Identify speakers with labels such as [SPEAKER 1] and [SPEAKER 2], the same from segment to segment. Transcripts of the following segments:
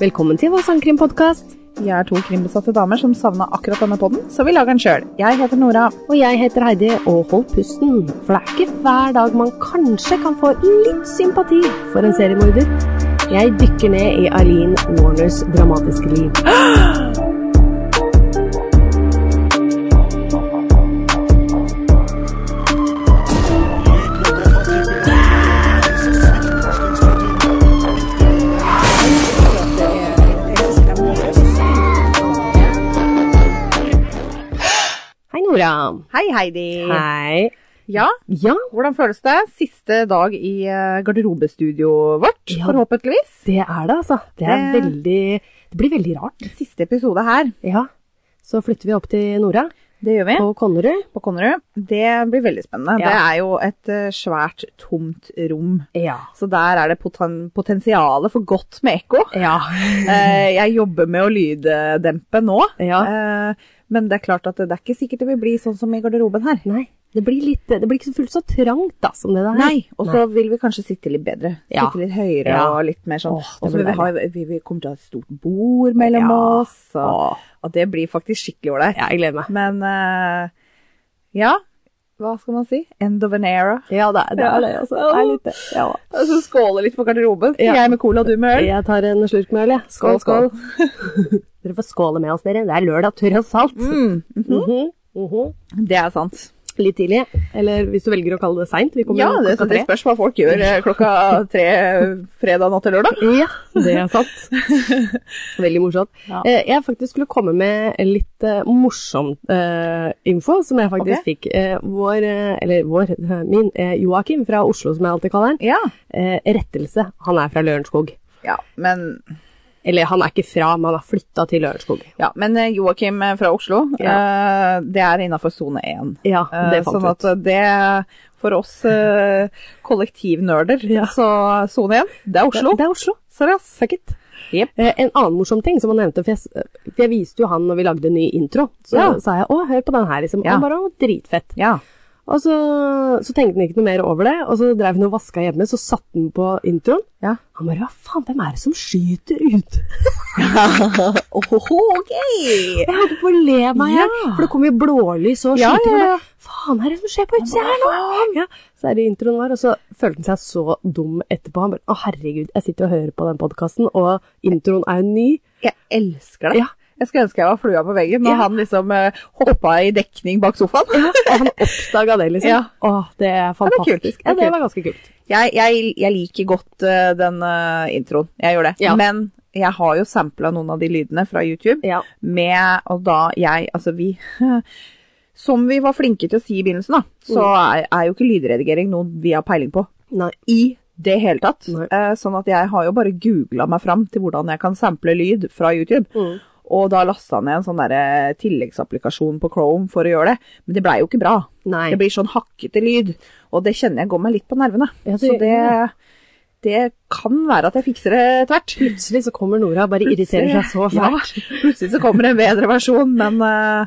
[SPEAKER 1] Velkommen til vår sangkrimpodkast.
[SPEAKER 2] Vi er to krimbesatte damer som savna akkurat denne podden, så vi lager den sjøl. Jeg heter Nora.
[SPEAKER 1] Og jeg heter Heidi, og hold pusten, for det er ikke hver dag man kanskje kan få litt sympati for en seriemorder. Jeg dykker ned i Eileen Warners dramatiske liv. Hei, Nora.
[SPEAKER 2] Hei, Heidi.
[SPEAKER 1] Hei.
[SPEAKER 2] Ja,
[SPEAKER 1] Ja,
[SPEAKER 2] hvordan føles det? Siste dag i eh, garderobestudioet vårt,
[SPEAKER 1] Ja.
[SPEAKER 2] forhåpentligvis.
[SPEAKER 1] det er det, altså. Det er
[SPEAKER 2] Det-
[SPEAKER 1] veldig Det blir veldig rart.
[SPEAKER 2] Siste episode her,
[SPEAKER 1] Ja. Så flytter vi opp til Nora
[SPEAKER 2] det gjør vi
[SPEAKER 1] på Konnerud.
[SPEAKER 2] på Konnerud. Det blir veldig spennende.
[SPEAKER 1] Ja.
[SPEAKER 2] Det er jo et eh, svært tomt rom,
[SPEAKER 1] Ja.
[SPEAKER 2] så der er det poten potensialet for godt med ekko.
[SPEAKER 1] Ja.
[SPEAKER 2] Eh, Jeg jobber med å lyddempe nå.
[SPEAKER 1] ja.
[SPEAKER 2] Eh, Men det er klart at det er ikke sikkert det vil bli sånn som i garderoben her.
[SPEAKER 1] Nei, det blir, litt, det blir ikke så fullt så trangt da, som det der.
[SPEAKER 2] Nei, og så vil vi kanskje sitte litt bedre.
[SPEAKER 1] Ja.
[SPEAKER 2] Sitte litt høyere
[SPEAKER 1] Ja.
[SPEAKER 2] og litt mer sånn.
[SPEAKER 1] Åh, det
[SPEAKER 2] og så
[SPEAKER 1] blir
[SPEAKER 2] vil vi, ha, vi, vi kommer til å ha et stort bord mellom
[SPEAKER 1] Ja.
[SPEAKER 2] oss, og,
[SPEAKER 1] Åh,
[SPEAKER 2] og det blir faktisk skikkelig ålreit.
[SPEAKER 1] ja, jeg gleder meg.
[SPEAKER 2] Men eh, ja, hva skal man si? End of an era.
[SPEAKER 1] Ja, det er det, er det altså. Det er litt det. Ja.
[SPEAKER 2] Og så skåle litt for garderoben.
[SPEAKER 1] Ja.
[SPEAKER 2] Jeg med cola, du med øl.
[SPEAKER 1] Jeg tar en slurk med øl, jeg. Skål, skål. Dere får skåle med oss, dere. Det er lørdag, tross alt.
[SPEAKER 2] Mm, mhm,
[SPEAKER 1] Mhm, mhm.
[SPEAKER 2] Mm. det er sant.
[SPEAKER 1] Litt tidlig, eller hvis du velger å kalle det seint. Vi kommer
[SPEAKER 2] Ja,
[SPEAKER 1] jo
[SPEAKER 2] det,
[SPEAKER 1] klokka
[SPEAKER 2] det
[SPEAKER 1] tre.
[SPEAKER 2] spørs hva folk gjør eh, klokka tre fredag natt til lørdag.
[SPEAKER 1] Ja, det er sant. Veldig morsomt.
[SPEAKER 2] Ja.
[SPEAKER 1] Eh, Jeg faktisk skulle komme med litt eh, morsom eh, info, som jeg faktisk fikk. Eh, Vår, eh, eller vår, eh, min, eh, Joakim fra Oslo, som jeg alltid kaller han,
[SPEAKER 2] Ja.
[SPEAKER 1] Eh, rettelse, han er fra Lørenskog.
[SPEAKER 2] Ja, men
[SPEAKER 1] Eller han er ikke fra, men han har flytta til Lørenskog.
[SPEAKER 2] Ja, men eh, Joakim eh, fra Oslo, eh, det er innafor sone 1.
[SPEAKER 1] Ja,
[SPEAKER 2] Eh,
[SPEAKER 1] det fant
[SPEAKER 2] sånn
[SPEAKER 1] vi
[SPEAKER 2] at det For oss eh, kollektivnerder,
[SPEAKER 1] Ja.
[SPEAKER 2] så sone 1, det er
[SPEAKER 1] ut.
[SPEAKER 2] Oslo.
[SPEAKER 1] Det, det er Oslo.
[SPEAKER 2] Sorry, ass.
[SPEAKER 1] Fuck it.
[SPEAKER 2] Jep.
[SPEAKER 1] Eh, en annen morsom ting som han nevnte, for jeg, s- for jeg viste jo han når vi lagde en ny intro, så
[SPEAKER 2] Ja.
[SPEAKER 1] sa jeg å, hør på den her, liksom.
[SPEAKER 2] Ja.
[SPEAKER 1] Han bare å, dritfett.
[SPEAKER 2] Ja.
[SPEAKER 1] Og så, så tenkte han ikke noe mer over det, og så drev han og vaska hjemme, så satte han på introen.
[SPEAKER 2] Ja.
[SPEAKER 1] Han bare hva faen, hvem er det som skyter ute?
[SPEAKER 2] ok!
[SPEAKER 1] Jeg holdt på å le meg i hjel,
[SPEAKER 2] Ja.
[SPEAKER 1] for det kom jo blålys og
[SPEAKER 2] Ja,
[SPEAKER 1] skyting.
[SPEAKER 2] ja,
[SPEAKER 1] og
[SPEAKER 2] ja.
[SPEAKER 1] bare, Faen, er det som skjer på utsida her nå? Ja, så er det introen vår, og så følte han seg så dum etterpå. Han bare å herregud, jeg sitter og hører på den podkasten, og introen er jo ny.
[SPEAKER 2] Jeg elsker det.
[SPEAKER 1] Ja.
[SPEAKER 2] Jeg skulle ønske jeg var flua på veggen når
[SPEAKER 1] Ja.
[SPEAKER 2] han liksom eh, hoppa i dekning bak sofaen.
[SPEAKER 1] Og han oppdaga det, liksom.
[SPEAKER 2] Ja.
[SPEAKER 1] Åh, det er
[SPEAKER 2] det er kult.
[SPEAKER 1] fantastisk. Ja,
[SPEAKER 2] Det er
[SPEAKER 1] det var ganske kult.
[SPEAKER 2] Jeg, jeg, jeg liker godt eh, den eh, introen. Jeg gjør det.
[SPEAKER 1] Ja.
[SPEAKER 2] Men jeg har jo sampla noen av de lydene fra YouTube.
[SPEAKER 1] Ja.
[SPEAKER 2] med Og da jeg, altså vi Som vi var flinke til å si i begynnelsen, da, så
[SPEAKER 1] Mm.
[SPEAKER 2] er, er jo ikke lydredigering noe vi har peiling på
[SPEAKER 1] Nei.
[SPEAKER 2] i det hele tatt.
[SPEAKER 1] Nei.
[SPEAKER 2] Eh, sånn at jeg har jo bare googla meg fram til hvordan jeg kan sample lyd fra YouTube.
[SPEAKER 1] Mm.
[SPEAKER 2] Og da lasta ned en sånn der, eh, tilleggsapplikasjon på Chrome for å gjøre det. Men det blei jo ikke bra.
[SPEAKER 1] Nei.
[SPEAKER 2] Det blir sånn hakkete lyd. Og det kjenner jeg går meg litt på nervene.
[SPEAKER 1] Ja, det-
[SPEAKER 2] så det, det kan være at jeg fikser det tvert.
[SPEAKER 1] Plutselig så kommer Nora og bare irriterer seg så
[SPEAKER 2] Ja,
[SPEAKER 1] fælt.
[SPEAKER 2] plutselig så kommer det en bedre versjon, men eh,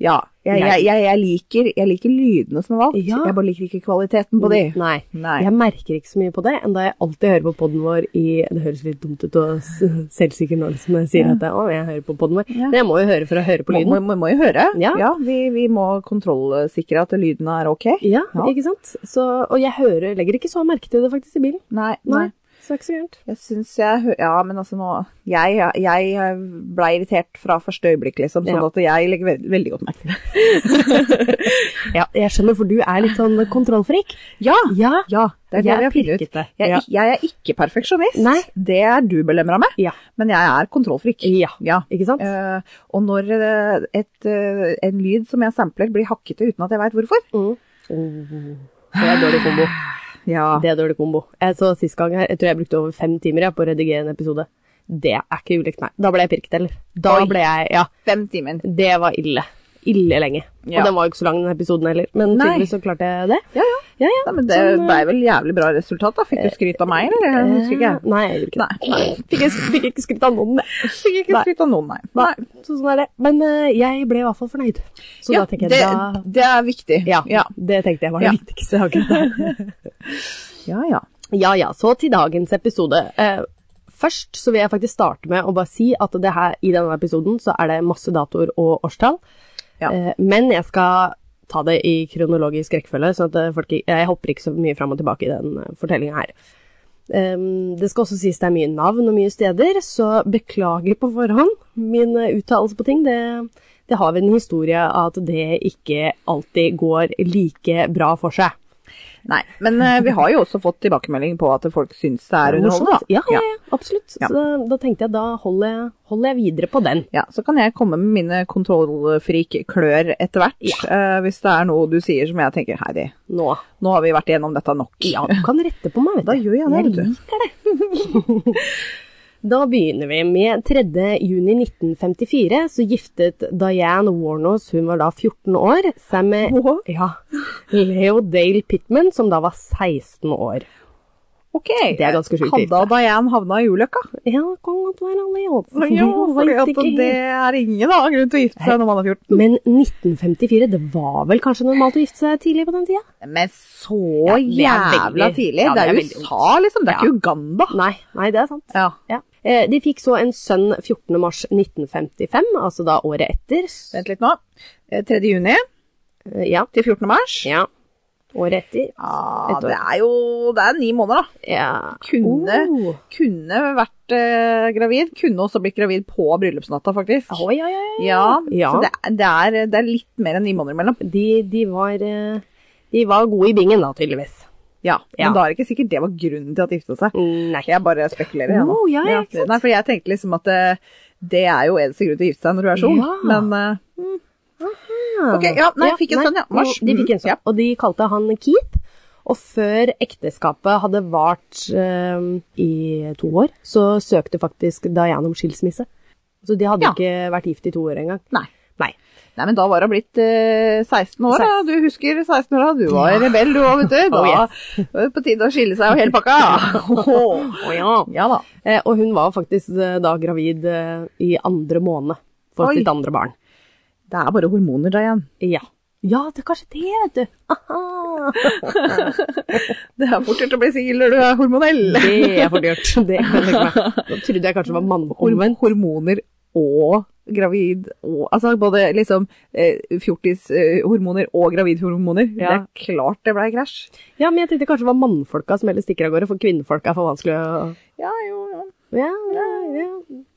[SPEAKER 2] ja. Jeg, jeg, jeg, jeg, liker, jeg liker lydene som er valgt,
[SPEAKER 1] Ja. Mm.
[SPEAKER 2] jeg bare liker ikke kvaliteten på de.
[SPEAKER 1] Nei.
[SPEAKER 2] Nei.
[SPEAKER 1] Jeg merker ikke så mye på det, enda jeg alltid hører på podden vår i Det høres litt dumt ut og s- selvsikker nå som jeg sier at jeg, å, jeg hører på podden vår.
[SPEAKER 2] Ja.
[SPEAKER 1] Men jeg må jo høre for å høre på
[SPEAKER 2] Må,
[SPEAKER 1] lyden.
[SPEAKER 2] må, må jo høre.
[SPEAKER 1] Ja.
[SPEAKER 2] vi, vi må kontrollsikre at lyden er ok.
[SPEAKER 1] Ja,
[SPEAKER 2] Ja.
[SPEAKER 1] ikke sant? Så, og jeg hører, legger ikke så merke til det faktisk i bilen.
[SPEAKER 2] Nei,
[SPEAKER 1] Nei,
[SPEAKER 2] nei.
[SPEAKER 1] så det er ikke så gærent.
[SPEAKER 2] Jeg syns jeg hø- Ja, men altså nå Jeg, jeg eh, ble irritert fra første øyeblikk, liksom, sånn
[SPEAKER 1] Ja.
[SPEAKER 2] at jeg legger veldig, veldig godt merke til det.
[SPEAKER 1] Ja, jeg skjønner, for du er litt sånn kontrollfrik.
[SPEAKER 2] Ja!
[SPEAKER 1] Ja,
[SPEAKER 2] ja det er det vi
[SPEAKER 1] jeg
[SPEAKER 2] har funnet ut.
[SPEAKER 1] pirket
[SPEAKER 2] Jeg,
[SPEAKER 1] Ja.
[SPEAKER 2] jeg er ikke perfeksjonist.
[SPEAKER 1] Nei.
[SPEAKER 2] Det er du belemra med,
[SPEAKER 1] Ja.
[SPEAKER 2] men jeg er kontrollfrik.
[SPEAKER 1] ja,
[SPEAKER 2] Ja.
[SPEAKER 1] ikke sant?
[SPEAKER 2] Eh, og når eh, et, eh, en lyd som jeg sampler blir hakkete uten at jeg veit hvorfor
[SPEAKER 1] Mm. Oh, det er dårlig kombo.
[SPEAKER 2] Ja.
[SPEAKER 1] Det er dårlig kombo. Jeg så sist gang her, jeg tror jeg brukte over fem timer jeg, på å redigere en episode. Det er ikke ulikt meg. Da ble jeg pirket, eller? Da
[SPEAKER 2] Oi.
[SPEAKER 1] ble jeg, ja.
[SPEAKER 2] Fem timer.
[SPEAKER 1] Det var ille. Ille lenge.
[SPEAKER 2] Ja.
[SPEAKER 1] Og den var jo ikke så lang, den episoden heller. Men
[SPEAKER 2] Nei.
[SPEAKER 1] tydeligvis så klarte jeg det.
[SPEAKER 2] Ja, ja.
[SPEAKER 1] Ja, ja.
[SPEAKER 2] Nei, men det
[SPEAKER 1] Sånn, eh,
[SPEAKER 2] ble vel jævlig bra resultat, da. Fikk du skryt av meg, eller? Jeg husker ikke.
[SPEAKER 1] Eh, Nei, jeg gjorde ikke det. Nei. Fikk, jeg, fikk ikke skrytt av noen, jeg.
[SPEAKER 2] Fikk ikke
[SPEAKER 1] Nei.
[SPEAKER 2] skryt av noen, nei.
[SPEAKER 1] Nei. Så sånn er det. Men eh, jeg ble i hvert fall fornøyd. Så
[SPEAKER 2] Ja,
[SPEAKER 1] da tenker
[SPEAKER 2] det,
[SPEAKER 1] jeg da...
[SPEAKER 2] det er viktig.
[SPEAKER 1] Ja,
[SPEAKER 2] ja.
[SPEAKER 1] det tenkte jeg var det
[SPEAKER 2] Ja.
[SPEAKER 1] viktigste akkurat der.
[SPEAKER 2] Ja, ja.
[SPEAKER 1] Ja ja, så til dagens episode. Eh, Først så vil jeg faktisk starte med å bare si at det her, i denne episoden så er det masse datoer og årstall.
[SPEAKER 2] Ja.
[SPEAKER 1] Eh, men jeg skal ta det i kronologisk rekkefølge, sånn at eh, folk, ikke- jeg hopper ikke så mye fram og tilbake i den fortellinga her. Ehm, det skal også sies det er mye navn og mye steder, så beklager på forhånd min eh, uttalelse på ting. Det, det har vi en historie av at det ikke alltid går like bra for seg.
[SPEAKER 2] Nei, men eh, vi har jo også fått tilbakemelding på at folk syns det er underholdende, da.
[SPEAKER 1] Ja, ja, ja, absolutt.
[SPEAKER 2] Ja.
[SPEAKER 1] Så da, da tenkte jeg da holder jeg, holder jeg videre på den.
[SPEAKER 2] Ja, så kan jeg komme med mine kontrollfrik-klør etter hvert, eh, hvis det er noe du sier som jeg tenker Heidi,
[SPEAKER 1] Nå.
[SPEAKER 2] nå har vi vært igjennom dette nok. Mm.
[SPEAKER 1] Ja, du kan rette på meg, vet du.
[SPEAKER 2] Da gjør jeg det, vet du.
[SPEAKER 1] liker det. da begynner vi med 3. juni 1954, så giftet Diane Warnos, hun var da 14 år, seg med
[SPEAKER 2] Åh,
[SPEAKER 1] ja, Leo Dale Pittman, som da var 16 år.
[SPEAKER 2] Ok,
[SPEAKER 1] Det er ganske sjukt gift,
[SPEAKER 2] Hadde og Diane havna i ulykka?
[SPEAKER 1] Ja, det kan godt være Leo.
[SPEAKER 2] Ja,
[SPEAKER 1] Jeg
[SPEAKER 2] fordi
[SPEAKER 1] vet
[SPEAKER 2] at
[SPEAKER 1] ikke helt.
[SPEAKER 2] det er ingen annen grunn til å gifte seg når man er 14.
[SPEAKER 1] Men 1954, det var vel kanskje normalt å gifte seg tidlig på den tida?
[SPEAKER 2] Men så
[SPEAKER 1] Ja, det er
[SPEAKER 2] jævla
[SPEAKER 1] veldig-
[SPEAKER 2] tidlig.
[SPEAKER 1] ja,
[SPEAKER 2] det
[SPEAKER 1] det er
[SPEAKER 2] er
[SPEAKER 1] veldig
[SPEAKER 2] USA, liksom. Det er ikke Uganda.
[SPEAKER 1] Nei, nei, det er sant.
[SPEAKER 2] Ja.
[SPEAKER 1] Ja. Eh, De fikk så en sønn 14. mars 1955, altså da året etter.
[SPEAKER 2] Vent litt nå. Eh, 3. juni
[SPEAKER 1] Eh, Ja.
[SPEAKER 2] til 14. mars.
[SPEAKER 1] ja. Året etter.
[SPEAKER 2] Ja,
[SPEAKER 1] Et år.
[SPEAKER 2] det er jo det er ni måneder, da.
[SPEAKER 1] Ja.
[SPEAKER 2] Kunne-
[SPEAKER 1] Oh.
[SPEAKER 2] Kunne vært eh, gravid. Kunne også blitt gravid på bryllupsnatta, faktisk.
[SPEAKER 1] Oi, oi, oi. oi.
[SPEAKER 2] Ja,
[SPEAKER 1] Ja.
[SPEAKER 2] så det er, det, er, det er litt mer enn ni måneder imellom.
[SPEAKER 1] De, de, var, eh, de var gode i bingen da, tydeligvis.
[SPEAKER 2] Ja,
[SPEAKER 1] Ja.
[SPEAKER 2] Men da er det ikke sikkert det var grunnen til at de gifta seg.
[SPEAKER 1] Nei.
[SPEAKER 2] Jeg bare spekulerer. jeg, nå.
[SPEAKER 1] Oh, ja, ja, ikke sant.
[SPEAKER 2] Nei, for jeg tenkte liksom at det, det er jo eneste grunn til å gifte seg når du er så ung.
[SPEAKER 1] Ja.
[SPEAKER 2] Men eh, Ok, ja, nei, fikk en sønn, ja. Mars.
[SPEAKER 1] De fikk en
[SPEAKER 2] Mhm, ja.
[SPEAKER 1] sønn, og de kalte han Keith. Og før ekteskapet hadde vart eh, i to år, så søkte faktisk Diane om skilsmisse. Så de hadde
[SPEAKER 2] Ja.
[SPEAKER 1] ikke vært gift i to år engang.
[SPEAKER 2] nei.
[SPEAKER 1] Nei.
[SPEAKER 2] Nei, men da var hun blitt eh, 16 år, da. Du husker 16 år, da. Du var rebell, du òg, vet du. Da
[SPEAKER 1] Oh,
[SPEAKER 2] var det på tide å skille seg og hele pakka.
[SPEAKER 1] Å ja.
[SPEAKER 2] Oh, ja da.
[SPEAKER 1] Eh, og hun var faktisk eh, da gravid eh, i andre måned for
[SPEAKER 2] Oi.
[SPEAKER 1] sitt andre barn.
[SPEAKER 2] Det er bare hormoner, Diane.
[SPEAKER 1] Ja. Ja, det er kanskje det, vet du. Aha.
[SPEAKER 2] Det er fort gjort å bli singel når du er hormonell.
[SPEAKER 1] Det er for dyrt. Det kan jeg tenke meg. Da trodde jeg kanskje det var manneomvendt.
[SPEAKER 2] Horm- hormoner og gravid og Altså både liksom eh, fjortishormoner og gravidhormoner. Det
[SPEAKER 1] Ja.
[SPEAKER 2] er klart det blei krasj.
[SPEAKER 1] Ja, men jeg tenkte kanskje det var mannfolka som heller stikker av gårde, for kvinnfolka er for vanskelig å
[SPEAKER 2] Ja, jo, ja.
[SPEAKER 1] ja, ja, ja.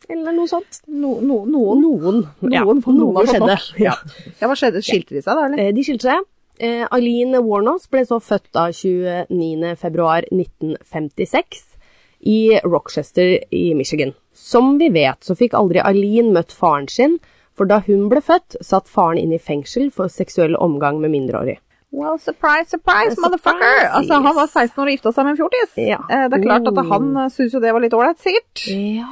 [SPEAKER 1] Eller noe sånt.
[SPEAKER 2] No, no, noen.
[SPEAKER 1] Noen. Ja,
[SPEAKER 2] Noen, for noen har fått
[SPEAKER 1] skjedde.
[SPEAKER 2] nok. Ja. ja, hva skjedde? Skilte de seg da, eller?
[SPEAKER 1] Eh, De skilte seg. Eh, Eileen Warnos ble så født da 29.2.1956 i Rochester i Michigan. Som vi vet, så fikk aldri Eileen møtt faren sin, for da hun ble født, satt faren inn i fengsel for seksuell omgang med mindreårig.
[SPEAKER 2] Well, surprise, surprise,
[SPEAKER 1] Surprise.
[SPEAKER 2] motherfucker! Altså, han var 16 år og gifta seg med en fjortis.
[SPEAKER 1] Ja.
[SPEAKER 2] Eh, det er klart at
[SPEAKER 1] Oh.
[SPEAKER 2] han eh, syntes jo det var litt ålreit, sikkert.
[SPEAKER 1] Ja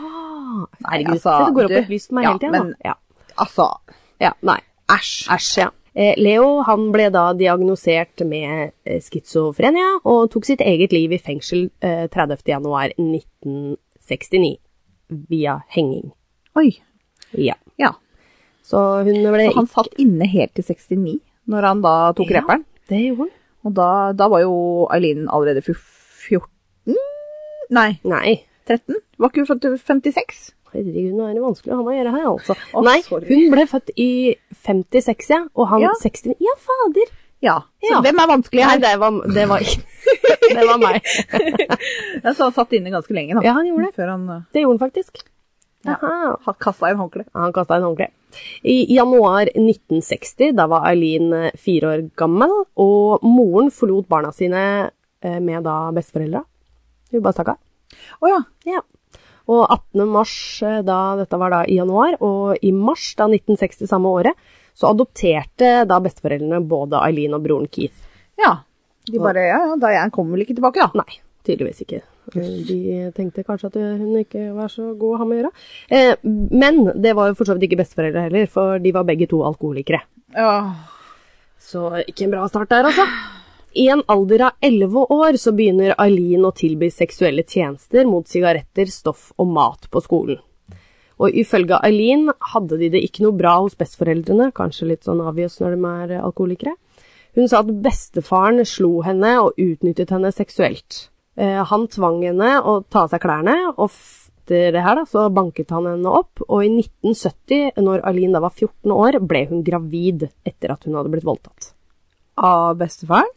[SPEAKER 2] Nei,
[SPEAKER 1] Herregud,
[SPEAKER 2] altså,
[SPEAKER 1] det går opp
[SPEAKER 2] du-
[SPEAKER 1] et lyst på meg
[SPEAKER 2] ja,
[SPEAKER 1] hele tiden,
[SPEAKER 2] men-
[SPEAKER 1] da. Ja.
[SPEAKER 2] Altså,
[SPEAKER 1] ja, nei.
[SPEAKER 2] æsj.
[SPEAKER 1] Æsj, ja. Eh, Leo han ble da diagnosert med eh, schizofrenia og tok sitt eget liv i fengsel eh, 30. januar 1969 via henging.
[SPEAKER 2] Oi.
[SPEAKER 1] Ja.
[SPEAKER 2] Ja.
[SPEAKER 1] Så hun ble
[SPEAKER 2] Så han satt inne helt til 69 når han da tok
[SPEAKER 1] Ja.
[SPEAKER 2] reperen.
[SPEAKER 1] Det gjorde hun.
[SPEAKER 2] Og da, da var jo Eileen allerede fj- 14 Nei,
[SPEAKER 1] Nei.
[SPEAKER 2] 13? Var ikke hun født til 56?
[SPEAKER 1] Herregud, nå er det vanskelig å ha med å gjøre her, altså.
[SPEAKER 2] Å,
[SPEAKER 1] Nei,
[SPEAKER 2] sorry.
[SPEAKER 1] hun ble født i 56, ja, og han
[SPEAKER 2] Ja.
[SPEAKER 1] 69. Ja, fader!
[SPEAKER 2] Ja. Så
[SPEAKER 1] Ja.
[SPEAKER 2] hvem er vanskelig
[SPEAKER 1] Nei,
[SPEAKER 2] her?
[SPEAKER 1] det var, det var, det var meg.
[SPEAKER 2] Ja, Så han satt inne ganske lenge, da.
[SPEAKER 1] Ja, han gjorde det.
[SPEAKER 2] Før han uh,
[SPEAKER 1] Det gjorde hun faktisk.
[SPEAKER 2] Ja.
[SPEAKER 1] Aha.
[SPEAKER 2] kasta inn håndkle.
[SPEAKER 1] Han kasta en håndkle. I januar 1960, da var Eileen eh, fire år gammel, og moren forlot barna sine eh, med da besteforeldra. Hun bare stakk av.
[SPEAKER 2] Å ja.
[SPEAKER 1] Ja. Og 18. mars, eh, da, dette var da i januar, og i mars da 1960 samme året, så adopterte da besteforeldrene både Eileen og broren Keith.
[SPEAKER 2] Ja. De bare Ja, ja, Diane kommer vel ikke tilbake, da.
[SPEAKER 1] Nei, tydeligvis ikke. Eh, De tenkte kanskje at hun ikke var så god å ha med å gjøre. Eh, Men det var jo for så vidt ikke besteforeldre heller, for de var begge to alkoholikere.
[SPEAKER 2] Åh.
[SPEAKER 1] Så ikke en bra start der, altså. I en alder av 11 år så begynner Eileen å tilby seksuelle tjenester mot sigaretter, stoff og mat på skolen. Og ifølge Eileen hadde de det ikke noe bra hos besteforeldrene, kanskje litt sånn obvious når de er alkoholikere. Hun sa at bestefaren slo henne og utnyttet henne seksuelt. Eh, han tvang henne å ta av seg klærne, og f etter det her, da, så banket han henne opp, og i 1970, når Aline da var 14 år, ble hun gravid etter at hun hadde blitt voldtatt.
[SPEAKER 2] Av bestefaren?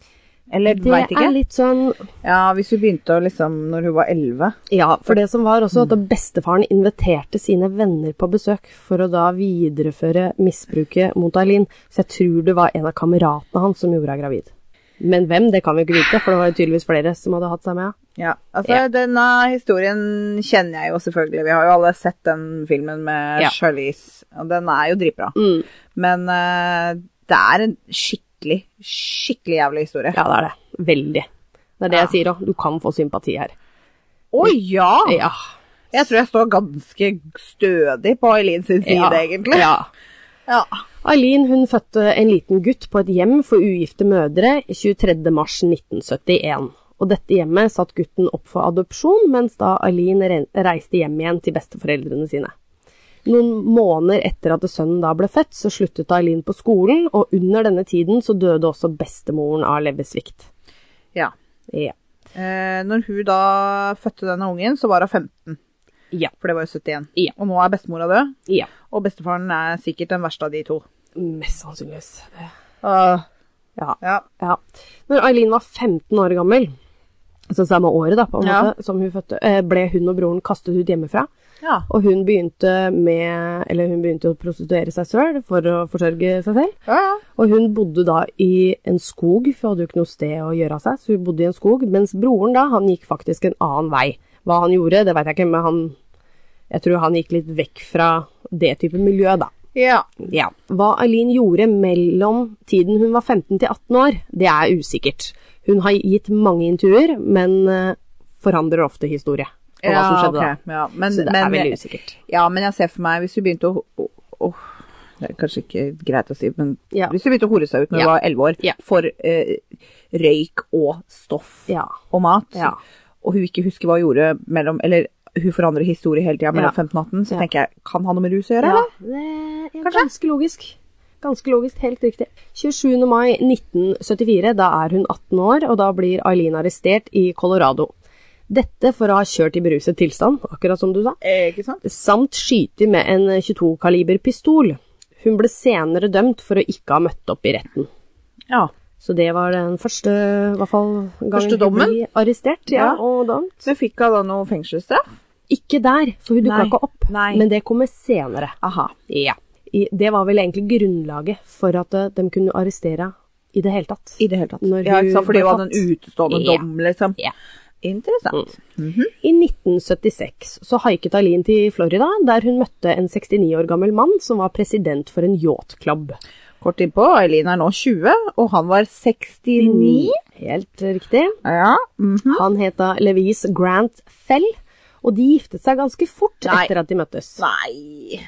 [SPEAKER 2] Eller
[SPEAKER 1] Det
[SPEAKER 2] veit
[SPEAKER 1] er
[SPEAKER 2] ikke.
[SPEAKER 1] litt sånn
[SPEAKER 2] Ja, hvis hun begynte å liksom når hun var elleve.
[SPEAKER 1] Ja, Mm. for det som var også at bestefaren inviterte sine venner på besøk for å da videreføre misbruket mot Eileen, så jeg tror det var en av kameratene hans som gjorde henne gravid. Men hvem, det kan vi ikke vite, for det var jo tydeligvis flere som hadde hatt seg med.
[SPEAKER 2] Ja, altså
[SPEAKER 1] Ja.
[SPEAKER 2] denne historien kjenner jeg jo selvfølgelig. Vi har jo alle sett den filmen med
[SPEAKER 1] Ja.
[SPEAKER 2] Charlize, og den er jo dritbra.
[SPEAKER 1] Mm.
[SPEAKER 2] Men eh, det er en skikkelig, skikkelig jævlig historie.
[SPEAKER 1] Ja, det er det. Veldig. Det er det
[SPEAKER 2] Ja.
[SPEAKER 1] jeg sier òg. Du kan få sympati her.
[SPEAKER 2] Å ja!
[SPEAKER 1] Ja.
[SPEAKER 2] Jeg tror jeg står ganske stødig på Eileen sin side,
[SPEAKER 1] ja.
[SPEAKER 2] egentlig.
[SPEAKER 1] Ja.
[SPEAKER 2] Ja.
[SPEAKER 1] Eileen hun fødte en liten gutt på et hjem for ugifte mødre 23.3.1971. Og dette hjemmet satt gutten opp for adopsjon, mens da Eileen re- reiste hjem igjen til besteforeldrene sine. Noen måneder etter at sønnen da ble født, så sluttet Eileen på skolen, og under denne tiden så døde også bestemoren av leversvikt.
[SPEAKER 2] ja.
[SPEAKER 1] Ja.
[SPEAKER 2] Eh, når hun da fødte denne ungen, så var hun 15,
[SPEAKER 1] Ja.
[SPEAKER 2] for det var jo 71.
[SPEAKER 1] Ja.
[SPEAKER 2] Og nå er bestemora død,
[SPEAKER 1] ja.
[SPEAKER 2] og bestefaren er sikkert den verste av de to.
[SPEAKER 1] Mest sannsynligvis. Det-
[SPEAKER 2] Åh,
[SPEAKER 1] Ja.
[SPEAKER 2] ja.
[SPEAKER 1] Ja. Når Eileen var 15 år gammel, altså samme året da, på en
[SPEAKER 2] Ja.
[SPEAKER 1] måte, som hun fødte, eh, ble hun og broren kastet ut hjemmefra.
[SPEAKER 2] ja.
[SPEAKER 1] Og hun begynte med Eller hun begynte å prostituere seg selv for å forsørge seg selv.
[SPEAKER 2] Ja, ja.
[SPEAKER 1] Og hun bodde da i en skog, for hun hadde jo ikke noe sted å gjøre av seg, så hun bodde i en skog. Mens broren da, han gikk faktisk en annen vei. Hva han gjorde, det veit jeg ikke, men han Jeg tror han gikk litt vekk fra det type miljø, da.
[SPEAKER 2] Ja.
[SPEAKER 1] Ja. Hva Eileen gjorde mellom tiden hun var 15 til 18 år, det er usikkert. Hun har gitt mange intervjuer, men eh, forandrer ofte historie på hva som skjedde
[SPEAKER 2] ok. Ja, men,
[SPEAKER 1] da. Så det
[SPEAKER 2] men,
[SPEAKER 1] er veldig usikkert.
[SPEAKER 2] Ja, men jeg ser for meg hvis hun begynte å å- å- oh, Det er kanskje ikke greit å si, men
[SPEAKER 1] Ja.
[SPEAKER 2] hvis hun begynte å hore seg ut når hun
[SPEAKER 1] Ja.
[SPEAKER 2] var elleve år
[SPEAKER 1] Ja.
[SPEAKER 2] for eh, røyk og stoff
[SPEAKER 1] Ja.
[SPEAKER 2] og mat,
[SPEAKER 1] Ja.
[SPEAKER 2] og hun ikke husker hva hun gjorde mellom Eller hun forandrer historie hele tida
[SPEAKER 1] Ja.
[SPEAKER 2] mellom 15 og 18, så
[SPEAKER 1] Ja.
[SPEAKER 2] tenker jeg kan ha noe med rus å gjøre, eller?
[SPEAKER 1] det er
[SPEAKER 2] Kanskje?
[SPEAKER 1] ganske logisk. Ganske logisk, helt riktig. 27. mai 1974, da er hun 18 år, og da blir Eileen arrestert i Colorado. Dette for å ha kjørt i beruset tilstand, akkurat som du sa,
[SPEAKER 2] Eh, ikke sant?
[SPEAKER 1] samt skyte med en 22-kaliber pistol. Hun ble senere dømt for å ikke ha møtt opp i retten.
[SPEAKER 2] Ja.
[SPEAKER 1] Så det var den første, i hvert fall, gangen hun
[SPEAKER 2] Første dommen?
[SPEAKER 1] ble arrestert. Ja,
[SPEAKER 2] Ja.
[SPEAKER 1] og dømt.
[SPEAKER 2] Så fikk hun da noe fengselsstraff?
[SPEAKER 1] Ikke der, for hun dukka
[SPEAKER 2] Nei.
[SPEAKER 1] ikke opp,
[SPEAKER 2] Nei.
[SPEAKER 1] men det kommer senere.
[SPEAKER 2] Aha.
[SPEAKER 1] Ja. I, det var vel egentlig grunnlaget for at eh, de kunne arrestere i det hele tatt.
[SPEAKER 2] I det hele tatt.
[SPEAKER 1] Når
[SPEAKER 2] Ja,
[SPEAKER 1] hun
[SPEAKER 2] ikke sant? Fordi
[SPEAKER 1] ble
[SPEAKER 2] hun hadde en utestående
[SPEAKER 1] Ja.
[SPEAKER 2] dom, liksom.
[SPEAKER 1] Ja. Mm.
[SPEAKER 2] Interessant.
[SPEAKER 1] I 1976 så haiket Aline til Florida, der hun møtte en 69 år gammel mann som var president for en yachtclub.
[SPEAKER 2] Kort innpå, Eileen er nå 20, og han var 69.
[SPEAKER 1] Helt riktig.
[SPEAKER 2] Ja. mhm.
[SPEAKER 1] Han het da Levis Grant Fell, og de giftet seg ganske fort
[SPEAKER 2] Nei.
[SPEAKER 1] etter at de møttes.
[SPEAKER 2] Nei.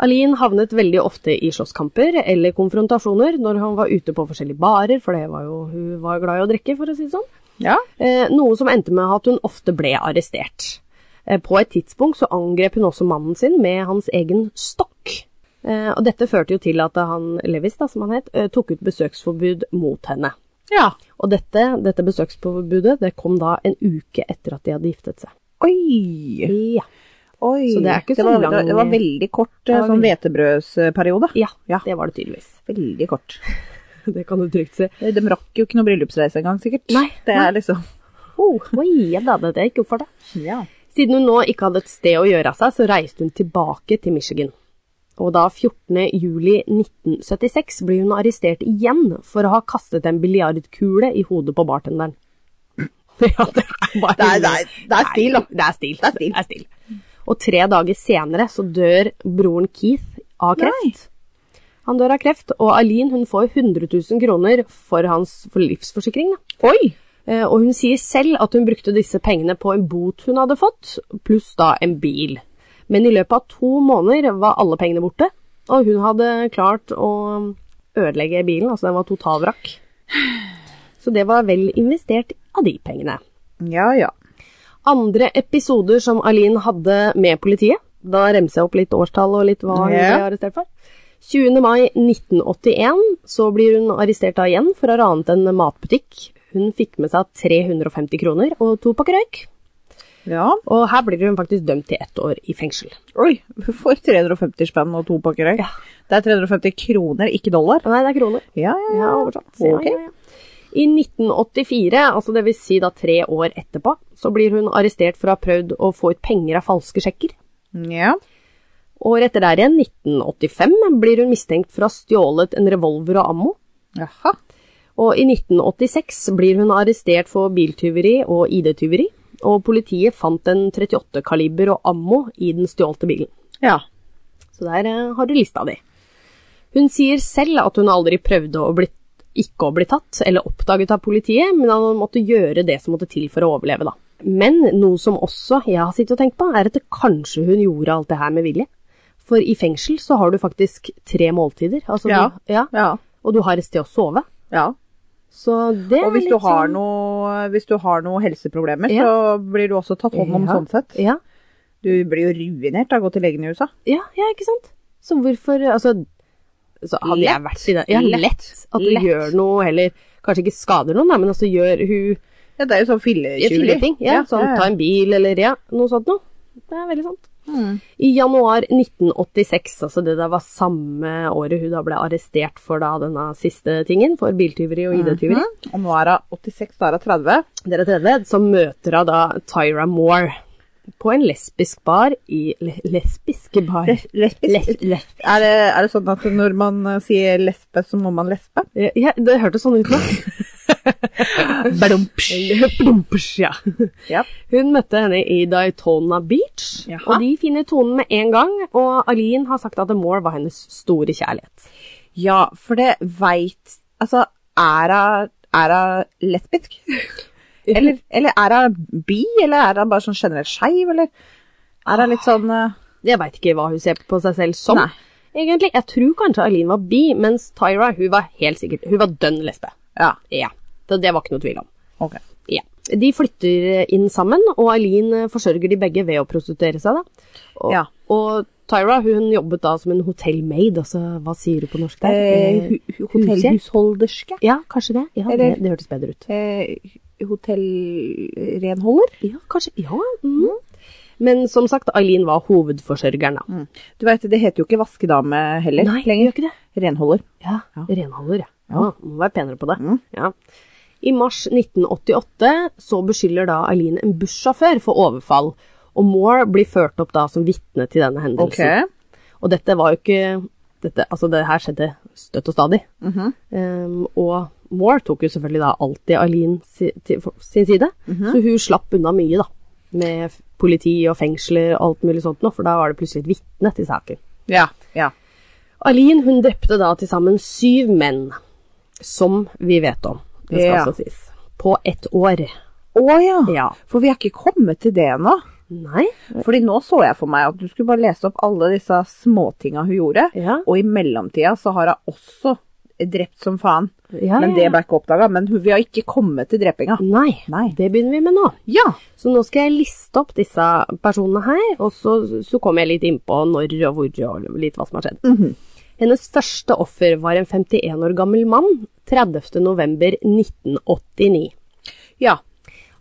[SPEAKER 1] Aline havnet veldig ofte i slåsskamper eller konfrontasjoner når hun var ute på forskjellige barer, for det var jo, hun var glad i å drikke, for å si det sånn.
[SPEAKER 2] Ja.
[SPEAKER 1] Eh, noe som endte med at hun ofte ble arrestert. Eh, på et tidspunkt så angrep hun også mannen sin med hans egen stokk. Eh, og dette førte jo til at han Levis, da, som han het, eh, tok ut besøksforbud mot henne.
[SPEAKER 2] Ja.
[SPEAKER 1] Og dette, dette besøksforbudet det kom da en uke etter at de hadde giftet seg.
[SPEAKER 2] Oi.
[SPEAKER 1] Ja.
[SPEAKER 2] Oi.
[SPEAKER 1] Så det er ikke så
[SPEAKER 2] var,
[SPEAKER 1] lang-
[SPEAKER 2] Det var veldig kort
[SPEAKER 1] var
[SPEAKER 2] eh, sånn
[SPEAKER 1] veldig-
[SPEAKER 2] hvetebrødsperiode.
[SPEAKER 1] ja,
[SPEAKER 2] Ja.
[SPEAKER 1] det var det tydeligvis.
[SPEAKER 2] Veldig kort.
[SPEAKER 1] Det kan du trygt si.
[SPEAKER 2] De rakk jo ikke noe bryllupsreise engang, sikkert.
[SPEAKER 1] Nei,
[SPEAKER 2] Det
[SPEAKER 1] nei.
[SPEAKER 2] er liksom
[SPEAKER 1] Oh, oi, ja da, dette gikk opp for deg.
[SPEAKER 2] Ja.
[SPEAKER 1] Siden hun nå ikke hadde et sted å gjøre av seg, så reiste hun tilbake til Michigan. Og da 14. juli 1976 ble hun arrestert igjen for å ha kastet en biljardkule i hodet på bartenderen. Ja, det er, bare-
[SPEAKER 2] Det er- det er- det er stil, da.
[SPEAKER 1] Det er stil.
[SPEAKER 2] Det er stil.
[SPEAKER 1] Og tre dager senere så dør broren Keith av kreft. Han dør av kreft, og Aline hun får 100 000 kroner for hans for livsforsikring. Da.
[SPEAKER 2] Oi.
[SPEAKER 1] Eh, Og hun sier selv at hun brukte disse pengene på en bot hun hadde fått, pluss da en bil. Men i løpet av to måneder var alle pengene borte, og hun hadde klart å ødelegge bilen, altså den var totalvrakk. Så det var vel investert av de pengene.
[SPEAKER 2] Ja, ja.
[SPEAKER 1] Andre episoder som Aline hadde med politiet, da remser jeg opp litt årstall og litt hva hun
[SPEAKER 2] Ja.
[SPEAKER 1] ble arrestert for. 20. mai 1981 så blir hun arrestert da igjen for å ha ranet en matbutikk. Hun fikk med seg 350 kroner og to pakker røyk.
[SPEAKER 2] Ja.
[SPEAKER 1] Og her blir hun faktisk dømt til ett år i fengsel.
[SPEAKER 2] Oi, for 350 spenn og to pakker røyk.
[SPEAKER 1] Ja.
[SPEAKER 2] Det er 350 kroner, ikke dollar.
[SPEAKER 1] Nei, det er kroner.
[SPEAKER 2] Ja, ja,
[SPEAKER 1] Ja,
[SPEAKER 2] ja.
[SPEAKER 1] oversatt. Ja, ja, ja. I 1984, altså det vil si da tre år etterpå, så blir hun arrestert for å ha prøvd å få ut penger av falske sjekker.
[SPEAKER 2] ja.
[SPEAKER 1] Året etter der igjen, 1985, blir hun mistenkt for å ha stjålet en revolver og ammo.
[SPEAKER 2] Jaha.
[SPEAKER 1] Og i 1986 blir hun arrestert for biltyveri og ID-tyveri, og politiet fant en 38-kaliber og ammo i den stjålte bilen.
[SPEAKER 2] Ja.
[SPEAKER 1] Så der eh, har du lista di. Hun sier selv at hun aldri prøvde å bli, ikke å bli tatt eller oppdaget av politiet, men at hun måtte gjøre det som måtte til for å overleve, da. Men noe som også jeg har sittet og tenkt på, er at det kanskje hun gjorde alt det her med vilje. For i fengsel så har du faktisk tre måltider, altså
[SPEAKER 2] Ja.
[SPEAKER 1] Du, ja,
[SPEAKER 2] Ja.
[SPEAKER 1] og du har et sted å sove.
[SPEAKER 2] ja.
[SPEAKER 1] Så det
[SPEAKER 2] Og
[SPEAKER 1] er
[SPEAKER 2] hvis
[SPEAKER 1] litt
[SPEAKER 2] du har
[SPEAKER 1] sånn-
[SPEAKER 2] noe, hvis du har noe helseproblemer,
[SPEAKER 1] Ja.
[SPEAKER 2] så blir du også tatt hånd om
[SPEAKER 1] Ja.
[SPEAKER 2] sånn sett.
[SPEAKER 1] Ja,
[SPEAKER 2] Du blir jo ruinert av å gå til legen i USA.
[SPEAKER 1] ja, ja ikke sant? Så hvorfor Altså, så hadde jeg vært i det Ja,
[SPEAKER 2] Lett.
[SPEAKER 1] lett. At du
[SPEAKER 2] Lett.
[SPEAKER 1] gjør noe heller Kanskje ikke skader noen, da, men altså gjør hun
[SPEAKER 2] Ja, det er jo sånn filletyveri.
[SPEAKER 1] filleting. Ja, sånn ta en bil eller ja, noe sånt noe. Det er veldig sant.
[SPEAKER 2] Mm.
[SPEAKER 1] I januar 1986, altså det der var samme året hun da ble arrestert for da denne siste tingen, for biltyveri og ID-tyveri,
[SPEAKER 2] Mhm. Og nå er hun 86, da er hun 30.
[SPEAKER 1] dere tredje, så møter hun da Tyra Moore på en lesbisk bar i le Lesbiske bar?
[SPEAKER 2] Les- lesbisk.
[SPEAKER 1] Les les
[SPEAKER 2] Er det, er det sånn at når man eh, sier lesbe, så må man lesbe?
[SPEAKER 1] ja, det hørtes sånn ut nå. Badumps, ja.
[SPEAKER 2] Ja.
[SPEAKER 1] Hun møtte henne i Daytona Beach,
[SPEAKER 2] Jaha.
[SPEAKER 1] og de finner tonen med en gang, og Aline har sagt at Moore var hennes store kjærlighet.
[SPEAKER 2] ja, for det veit Altså, er hun er hun lesbisk? Eller, eller er hun bi, eller er hun bare sånn generelt skeiv, eller? Er hun litt sånn eh,
[SPEAKER 1] Jeg veit ikke hva hun ser på seg selv som,
[SPEAKER 2] Nei.
[SPEAKER 1] egentlig. Jeg tror kanskje Aline var bi, mens Tyra hun var helt sikkert, hun var dønn lesbe.
[SPEAKER 2] Ja.
[SPEAKER 1] Ja, det, det var ikke noe tvil om.
[SPEAKER 2] Ok.
[SPEAKER 1] Ja. De flytter inn sammen, og Aline forsørger de begge ved å prostituere seg. da. Og,
[SPEAKER 2] Ja.
[SPEAKER 1] og Tyra hun jobbet da som en hotellmaid, altså hva sier du på norsk der?
[SPEAKER 2] Eh,
[SPEAKER 1] Eh,
[SPEAKER 2] hu- Hotellhusholderske?
[SPEAKER 1] Ja, kanskje det. Ja,
[SPEAKER 2] Eller-
[SPEAKER 1] det, det hørtes bedre ut.
[SPEAKER 2] Eh, Hotellrenholder?
[SPEAKER 1] Ja, kanskje. Ja. Mm. Men som sagt, Aline var hovedforsørgeren da.
[SPEAKER 2] Du veit, det heter jo ikke vaskedame heller
[SPEAKER 1] Nei, det gjør
[SPEAKER 2] lenger.
[SPEAKER 1] ikke det.
[SPEAKER 2] Renholder.
[SPEAKER 1] Ja,
[SPEAKER 2] Ja.
[SPEAKER 1] renholder, ja. ja. Må være penere på det.
[SPEAKER 2] Mm.
[SPEAKER 1] Ja. I mars 1988 så beskylder da Aline en bussjåfør for overfall, og Moore blir ført opp da som vitne til denne hendelsen. Og dette var jo ikke dette, Altså, det her skjedde støtt og stadig.
[SPEAKER 2] Mhm.
[SPEAKER 1] Ehm, og Moore tok jo selvfølgelig da alltid Aline si, til, for- sin side,
[SPEAKER 2] Mhm.
[SPEAKER 1] så hun slapp unna mye, da. Med f- politi og fengsler og alt mulig sånt nå, for da var det plutselig et vitne til saken.
[SPEAKER 2] Ja. ja.
[SPEAKER 1] Aline hun drepte da til sammen syv menn, som vi vet om, det skal
[SPEAKER 2] Ja.
[SPEAKER 1] også sies, på ett år.
[SPEAKER 2] Å ja.
[SPEAKER 1] Ja.
[SPEAKER 2] For vi er ikke kommet til det ennå.
[SPEAKER 1] Nei?
[SPEAKER 2] Fordi nå så jeg for meg at du skulle bare lese opp alle disse småtinga hun gjorde,
[SPEAKER 1] Ja.
[SPEAKER 2] og i mellomtida så har hun også drept som faen.
[SPEAKER 1] Ja,
[SPEAKER 2] Men
[SPEAKER 1] ja,
[SPEAKER 2] det
[SPEAKER 1] ja.
[SPEAKER 2] ble ikke oppdaga. Men hun- vi har ikke kommet til drepinga.
[SPEAKER 1] Nei.
[SPEAKER 2] Nei.
[SPEAKER 1] Det begynner vi med nå.
[SPEAKER 2] Ja.
[SPEAKER 1] Så nå skal jeg liste opp disse personene her, og så, så kommer jeg litt innpå når og hvor og litt hva som har skjedd. Hennes første offer var en 51 år gammel mann 30. november 1989.
[SPEAKER 2] Ja.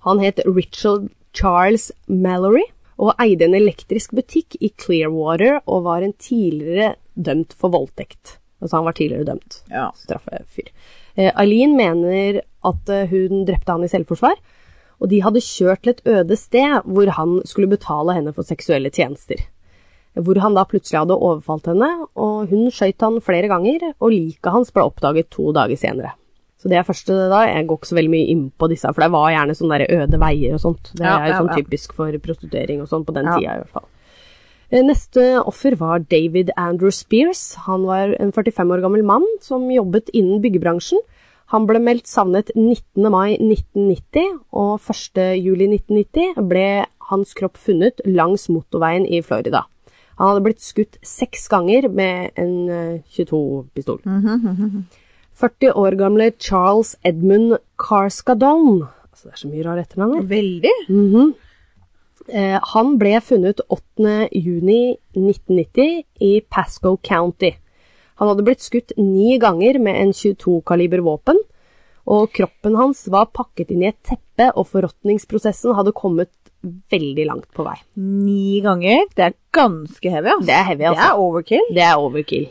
[SPEAKER 1] Han het Richard Charles Mallory og eide en elektrisk butikk i Clearwater og var en tidligere dømt for voldtekt. Altså han var tidligere dømt.
[SPEAKER 2] Ja.
[SPEAKER 1] Straffefyr. Eh, Aline mener at eh, hun drepte han i selvforsvar, og de hadde kjørt til et øde sted hvor han skulle betale henne for seksuelle tjenester. Hvor han da plutselig hadde overfalt henne, og hun skøyt han flere ganger, og liket hans ble oppdaget to dager senere. Så det er første da, jeg går ikke så veldig mye inn på disse, for det var gjerne sånne der øde veier og sånt. Det
[SPEAKER 2] Ja,
[SPEAKER 1] er jo
[SPEAKER 2] ja,
[SPEAKER 1] sånn
[SPEAKER 2] ja.
[SPEAKER 1] typisk for prostituering og sånn på den
[SPEAKER 2] Ja.
[SPEAKER 1] tida i hvert fall. Eh, Neste offer var David Andrew Spears. Han var en 45 år gammel mann som jobbet innen byggebransjen. Han ble meldt savnet 19. mai 1990, og 1. juli 1990 ble hans kropp funnet langs motorveien i Florida. Han hadde blitt skutt seks ganger med en eh, 22-pistol. 40 år gamle Charles Edmund Carskadon. Altså, det er så mye rare etternavn her.
[SPEAKER 2] Veldig.
[SPEAKER 1] Eh, han ble funnet 8. juni 1990 i Pasco County. Han hadde blitt skutt ni ganger med en 22-kaliber våpen, og kroppen hans var pakket inn i et teppe, og forråtningsprosessen hadde kommet veldig langt på vei.
[SPEAKER 2] Ni ganger. Det er ganske heavy, altså.
[SPEAKER 1] Det er heavy, altså.
[SPEAKER 2] Det er overkill.
[SPEAKER 1] Det er overkill.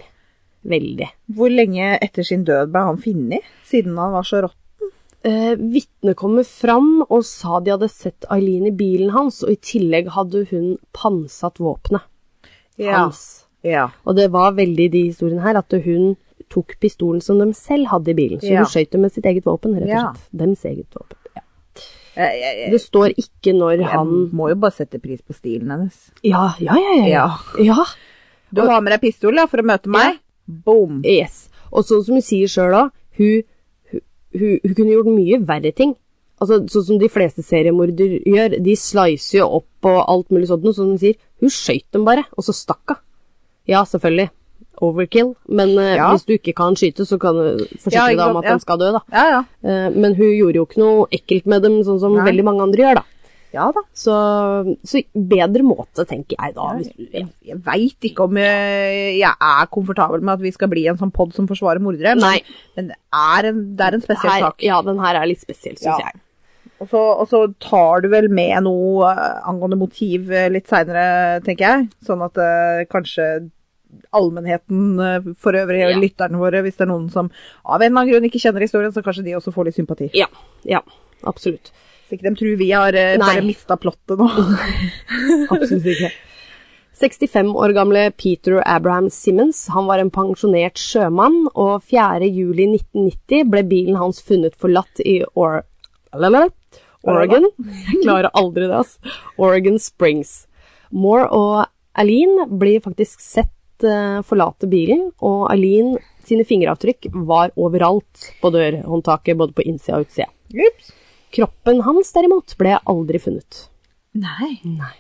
[SPEAKER 1] Veldig.
[SPEAKER 2] Hvor lenge etter sin død ble han funnet, siden han var så rått?
[SPEAKER 1] Eh, Vitnet kommer fram og sa de hadde sett Eileen i bilen hans, og i tillegg hadde hun pantsatt våpenet hans.
[SPEAKER 2] Ja.
[SPEAKER 1] Og det var veldig i de historiene her at hun tok pistolen som de selv hadde i bilen. Så
[SPEAKER 2] Ja.
[SPEAKER 1] hun skjøt dem med sitt eget våpen, rett og
[SPEAKER 2] Ja.
[SPEAKER 1] slett. Dems eget våpen. Ja.
[SPEAKER 2] Jeg, jeg, jeg,
[SPEAKER 1] Det står ikke når han
[SPEAKER 2] jeg må jo bare sette pris på stilen hennes.
[SPEAKER 1] Ja, ja, ja. ja.
[SPEAKER 2] Ja.
[SPEAKER 1] ja.
[SPEAKER 2] Du har med deg pistol ja, for å møte meg? Boom.
[SPEAKER 1] Yes. Og sånn som hun sier sjøl òg, hun, hun, hun, hun kunne gjort mye verre ting. Altså, sånn som de fleste seriemorder gjør. De slicer jo opp og alt mulig sånt. Og sånn som hun sier, hun skøyt dem bare, og så stakk hun. Ja, selvfølgelig. Overkill. Men eh,
[SPEAKER 2] Ja.
[SPEAKER 1] hvis du ikke kan skyte, så kan du
[SPEAKER 2] Ja,
[SPEAKER 1] forsikre
[SPEAKER 2] ikke
[SPEAKER 1] deg om
[SPEAKER 2] sant,
[SPEAKER 1] at
[SPEAKER 2] ja.
[SPEAKER 1] de skal dø, da.
[SPEAKER 2] Ja, ja.
[SPEAKER 1] Eh, men hun gjorde jo ikke noe ekkelt med dem, sånn som
[SPEAKER 2] Nei.
[SPEAKER 1] veldig mange andre gjør, da.
[SPEAKER 2] Ja da.
[SPEAKER 1] Så, så bedre måte, tenker jeg da. Hvis du,
[SPEAKER 2] Jeg, jeg veit ikke om eh, jeg, jeg er komfortabel med at vi skal bli en sånn pod som forsvarer mordere, men,
[SPEAKER 1] Nei.
[SPEAKER 2] men det, er en, det er en spesiell
[SPEAKER 1] her,
[SPEAKER 2] sak.
[SPEAKER 1] ja, den her er litt spesiell, syns
[SPEAKER 2] Ja.
[SPEAKER 1] jeg.
[SPEAKER 2] Og så, og så tar du vel med noe eh, angående motiv eh, litt seinere, tenker jeg. Sånn at eh, kanskje allmennheten eh, for øvrig, og
[SPEAKER 1] Ja.
[SPEAKER 2] lytterne våre, hvis det er noen som av en eller annen grunn ikke kjenner historien, så kanskje de også får litt sympati.
[SPEAKER 1] Ja, ja, absolutt.
[SPEAKER 2] Så ikke de tror vi har eh,
[SPEAKER 1] Nei.
[SPEAKER 2] bare mista plottet nå.
[SPEAKER 1] Absolutt ikke. 65 år gamle Peter Abraham Simmons han var en pensjonert sjømann, og 4. juli 1990 ble bilen hans funnet forlatt i Or Lalalala. Oregon. Jeg klarer aldri det, altså. Oregon Springs. Moore og Aline blir faktisk sett eh, forlate bilen, og Aline sine fingeravtrykk var overalt på dørhåndtaket, både på innsida og utsida.
[SPEAKER 2] Ups.
[SPEAKER 1] Kroppen hans derimot ble aldri funnet.
[SPEAKER 2] Nei.
[SPEAKER 1] Nei.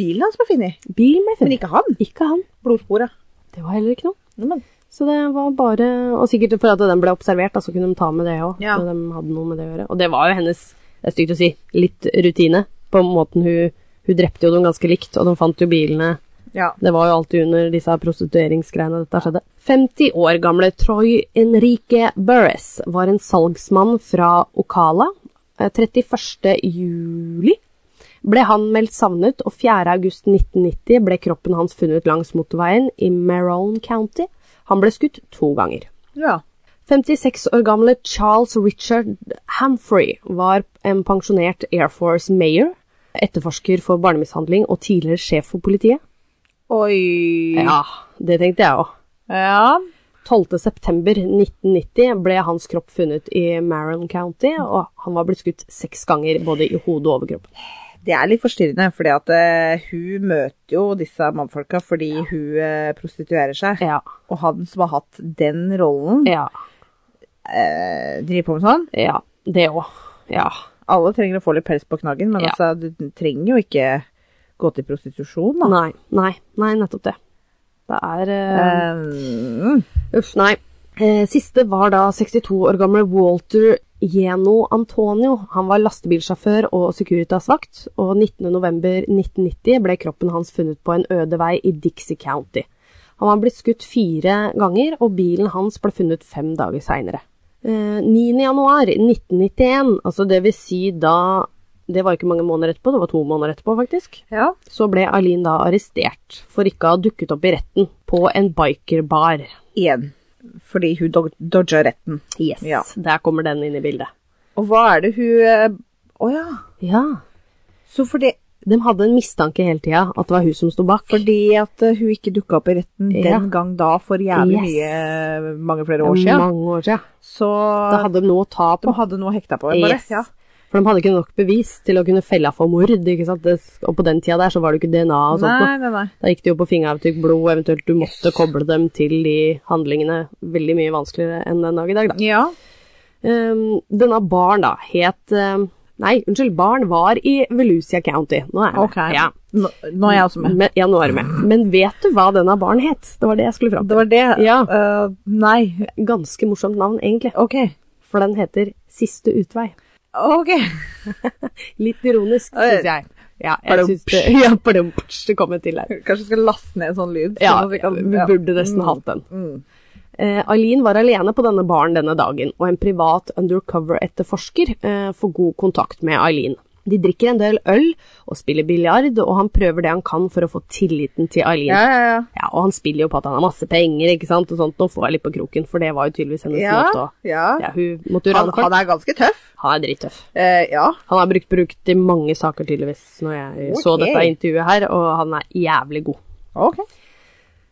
[SPEAKER 2] Bilen hans ble funnet,
[SPEAKER 1] Bilen ble funnet.
[SPEAKER 2] men ikke han.
[SPEAKER 1] Ikke han.
[SPEAKER 2] Blodsporet.
[SPEAKER 1] Det var heller ikke noe.
[SPEAKER 2] Ja, men-
[SPEAKER 1] Så det var bare Og sikkert for at den ble observert, da, så kunne de ta med det òg.
[SPEAKER 2] Ja.
[SPEAKER 1] Så de hadde noe med det å gjøre. Og det var jo hennes, det er stygt å si, litt rutine på måten hun Hun drepte jo dem ganske likt, og de fant jo bilene
[SPEAKER 2] Ja.
[SPEAKER 1] Det var jo alltid under disse her prostitueringsgreiene dette skjedde. 50 år gamle Troy Enrique Burress var en salgsmann fra Ocala. Eh, 31. juli ble han meldt savnet, og 4. august 1990 ble kroppen hans funnet langs motorveien i Maron County. Han ble skutt to ganger.
[SPEAKER 2] ja.
[SPEAKER 1] 56 år gamle Charles Richard Humphrey var en pensjonert Air Force Mayor, etterforsker for barnemishandling og tidligere sjef for politiet.
[SPEAKER 2] Oi.
[SPEAKER 1] Ja, det tenkte jeg òg.
[SPEAKER 2] Ja.
[SPEAKER 1] 12.9.1990 ble hans kropp funnet i Maron County, og han var blitt skutt seks ganger både i hodet og overkroppen.
[SPEAKER 2] Det er litt forstyrrende, fordi at eh, hun møter jo disse mannfolka fordi hun eh, prostituerer seg.
[SPEAKER 1] Ja,
[SPEAKER 2] Og han som har hatt den rollen,
[SPEAKER 1] ja,
[SPEAKER 2] eh, driver på med sånn.
[SPEAKER 1] ja. Det òg. Ja.
[SPEAKER 2] Alle trenger å få litt pels på knaggen, men
[SPEAKER 1] Ja.
[SPEAKER 2] altså, du trenger jo ikke gå til prostitusjon, da.
[SPEAKER 1] Nei, nei, nei, nettopp det. Det er eh,
[SPEAKER 2] Eh,
[SPEAKER 1] Uff, nei. Eh, Siste var da 62 år gamle Walter Geno Antonio. Han var lastebilsjåfør og Securitas-vakt, og 19.11.1990 ble kroppen hans funnet på en øde vei i Dixie County. Han var blitt skutt fire ganger, og bilen hans ble funnet fem dager Eh, seinere. 9.1.1991, altså det vil si da Det var ikke mange måneder etterpå, det var to måneder etterpå, faktisk
[SPEAKER 2] ja.
[SPEAKER 1] så ble Eileen da arrestert for ikke å ha dukket opp i retten på en bikerbar.
[SPEAKER 2] Igjen. Fordi hun dog- dodga retten.
[SPEAKER 1] Yes.
[SPEAKER 2] Ja.
[SPEAKER 1] Der kommer den inn i bildet.
[SPEAKER 2] Og hva er det hun eh, Å ja.
[SPEAKER 1] Ja.
[SPEAKER 2] Så fordi,
[SPEAKER 1] De hadde en mistanke hele tida at det var hun som sto bak.
[SPEAKER 2] fordi at eh, hun ikke dukka opp i retten
[SPEAKER 1] Ja.
[SPEAKER 2] den gang da for jævlig
[SPEAKER 1] Yes.
[SPEAKER 2] mye eh, mange flere år
[SPEAKER 1] Det er
[SPEAKER 2] siden,
[SPEAKER 1] mange år siden.
[SPEAKER 2] så
[SPEAKER 1] Da hadde de noe å ta
[SPEAKER 2] De
[SPEAKER 1] på.
[SPEAKER 2] hadde noe hekta på henne, bare.
[SPEAKER 1] Yes.
[SPEAKER 2] Ja.
[SPEAKER 1] For de hadde ikke nok bevis til å kunne felle for mord. ikke sant? Det, og på den tida der så var det ikke DNA og sånt. noe.
[SPEAKER 2] Nei, nei, nei.
[SPEAKER 1] Da gikk det jo på fingeravtrykk, blod, eventuelt du måtte koble dem til de handlingene. Veldig mye vanskeligere enn den dag i dag, da.
[SPEAKER 2] Ja.
[SPEAKER 1] Um, denne baren da het um, Nei, unnskyld, baren var i Volusia County. Nå er jeg med.
[SPEAKER 2] Ok.
[SPEAKER 1] Ja.
[SPEAKER 2] Nå, nå er jeg også med.
[SPEAKER 1] Men, ja, nå er du med. Men vet du hva denne baren het? Det var det Eh, jeg skulle fram
[SPEAKER 2] Det var det.
[SPEAKER 1] Ja.
[SPEAKER 2] øh, nei.
[SPEAKER 1] til. Ganske morsomt navn, egentlig.
[SPEAKER 2] Ok.
[SPEAKER 1] For den heter Siste utvei.
[SPEAKER 2] Ok.
[SPEAKER 1] Litt ironisk, syns jeg. Ja, jeg
[SPEAKER 2] Badum,
[SPEAKER 1] synes det, ja, badum, psj, det kom en til der.
[SPEAKER 2] Kanskje skal laste ned en sånn lyd.
[SPEAKER 1] Ja,
[SPEAKER 2] sånn at vi kan-
[SPEAKER 1] vi
[SPEAKER 2] ja.
[SPEAKER 1] burde nesten hatt den.
[SPEAKER 2] Mm.
[SPEAKER 1] Eh, Eileen var alene på denne baren denne dagen, og en privat undercover-etterforsker eh, får god kontakt med Eileen. De drikker en del øl og spiller biljard, og han prøver det han kan for å få tilliten til Eileen.
[SPEAKER 2] Ja, ja, ja.
[SPEAKER 1] Ja, og han spiller jo på at han har masse penger, ikke sant, og sånt. Nå får jeg litt på kroken, for det var jo tydeligvis hennes måte å
[SPEAKER 2] ja.
[SPEAKER 1] Ja, hun måtte jo rane
[SPEAKER 2] Han,
[SPEAKER 1] folk.
[SPEAKER 2] han er ganske tøff.
[SPEAKER 1] Han er drittøff.
[SPEAKER 2] Eh, ja.
[SPEAKER 1] Han har brukt brukt i mange saker, tydeligvis, når jeg så
[SPEAKER 2] Ok.
[SPEAKER 1] dette intervjuet her, og han er jævlig god.
[SPEAKER 2] Ok.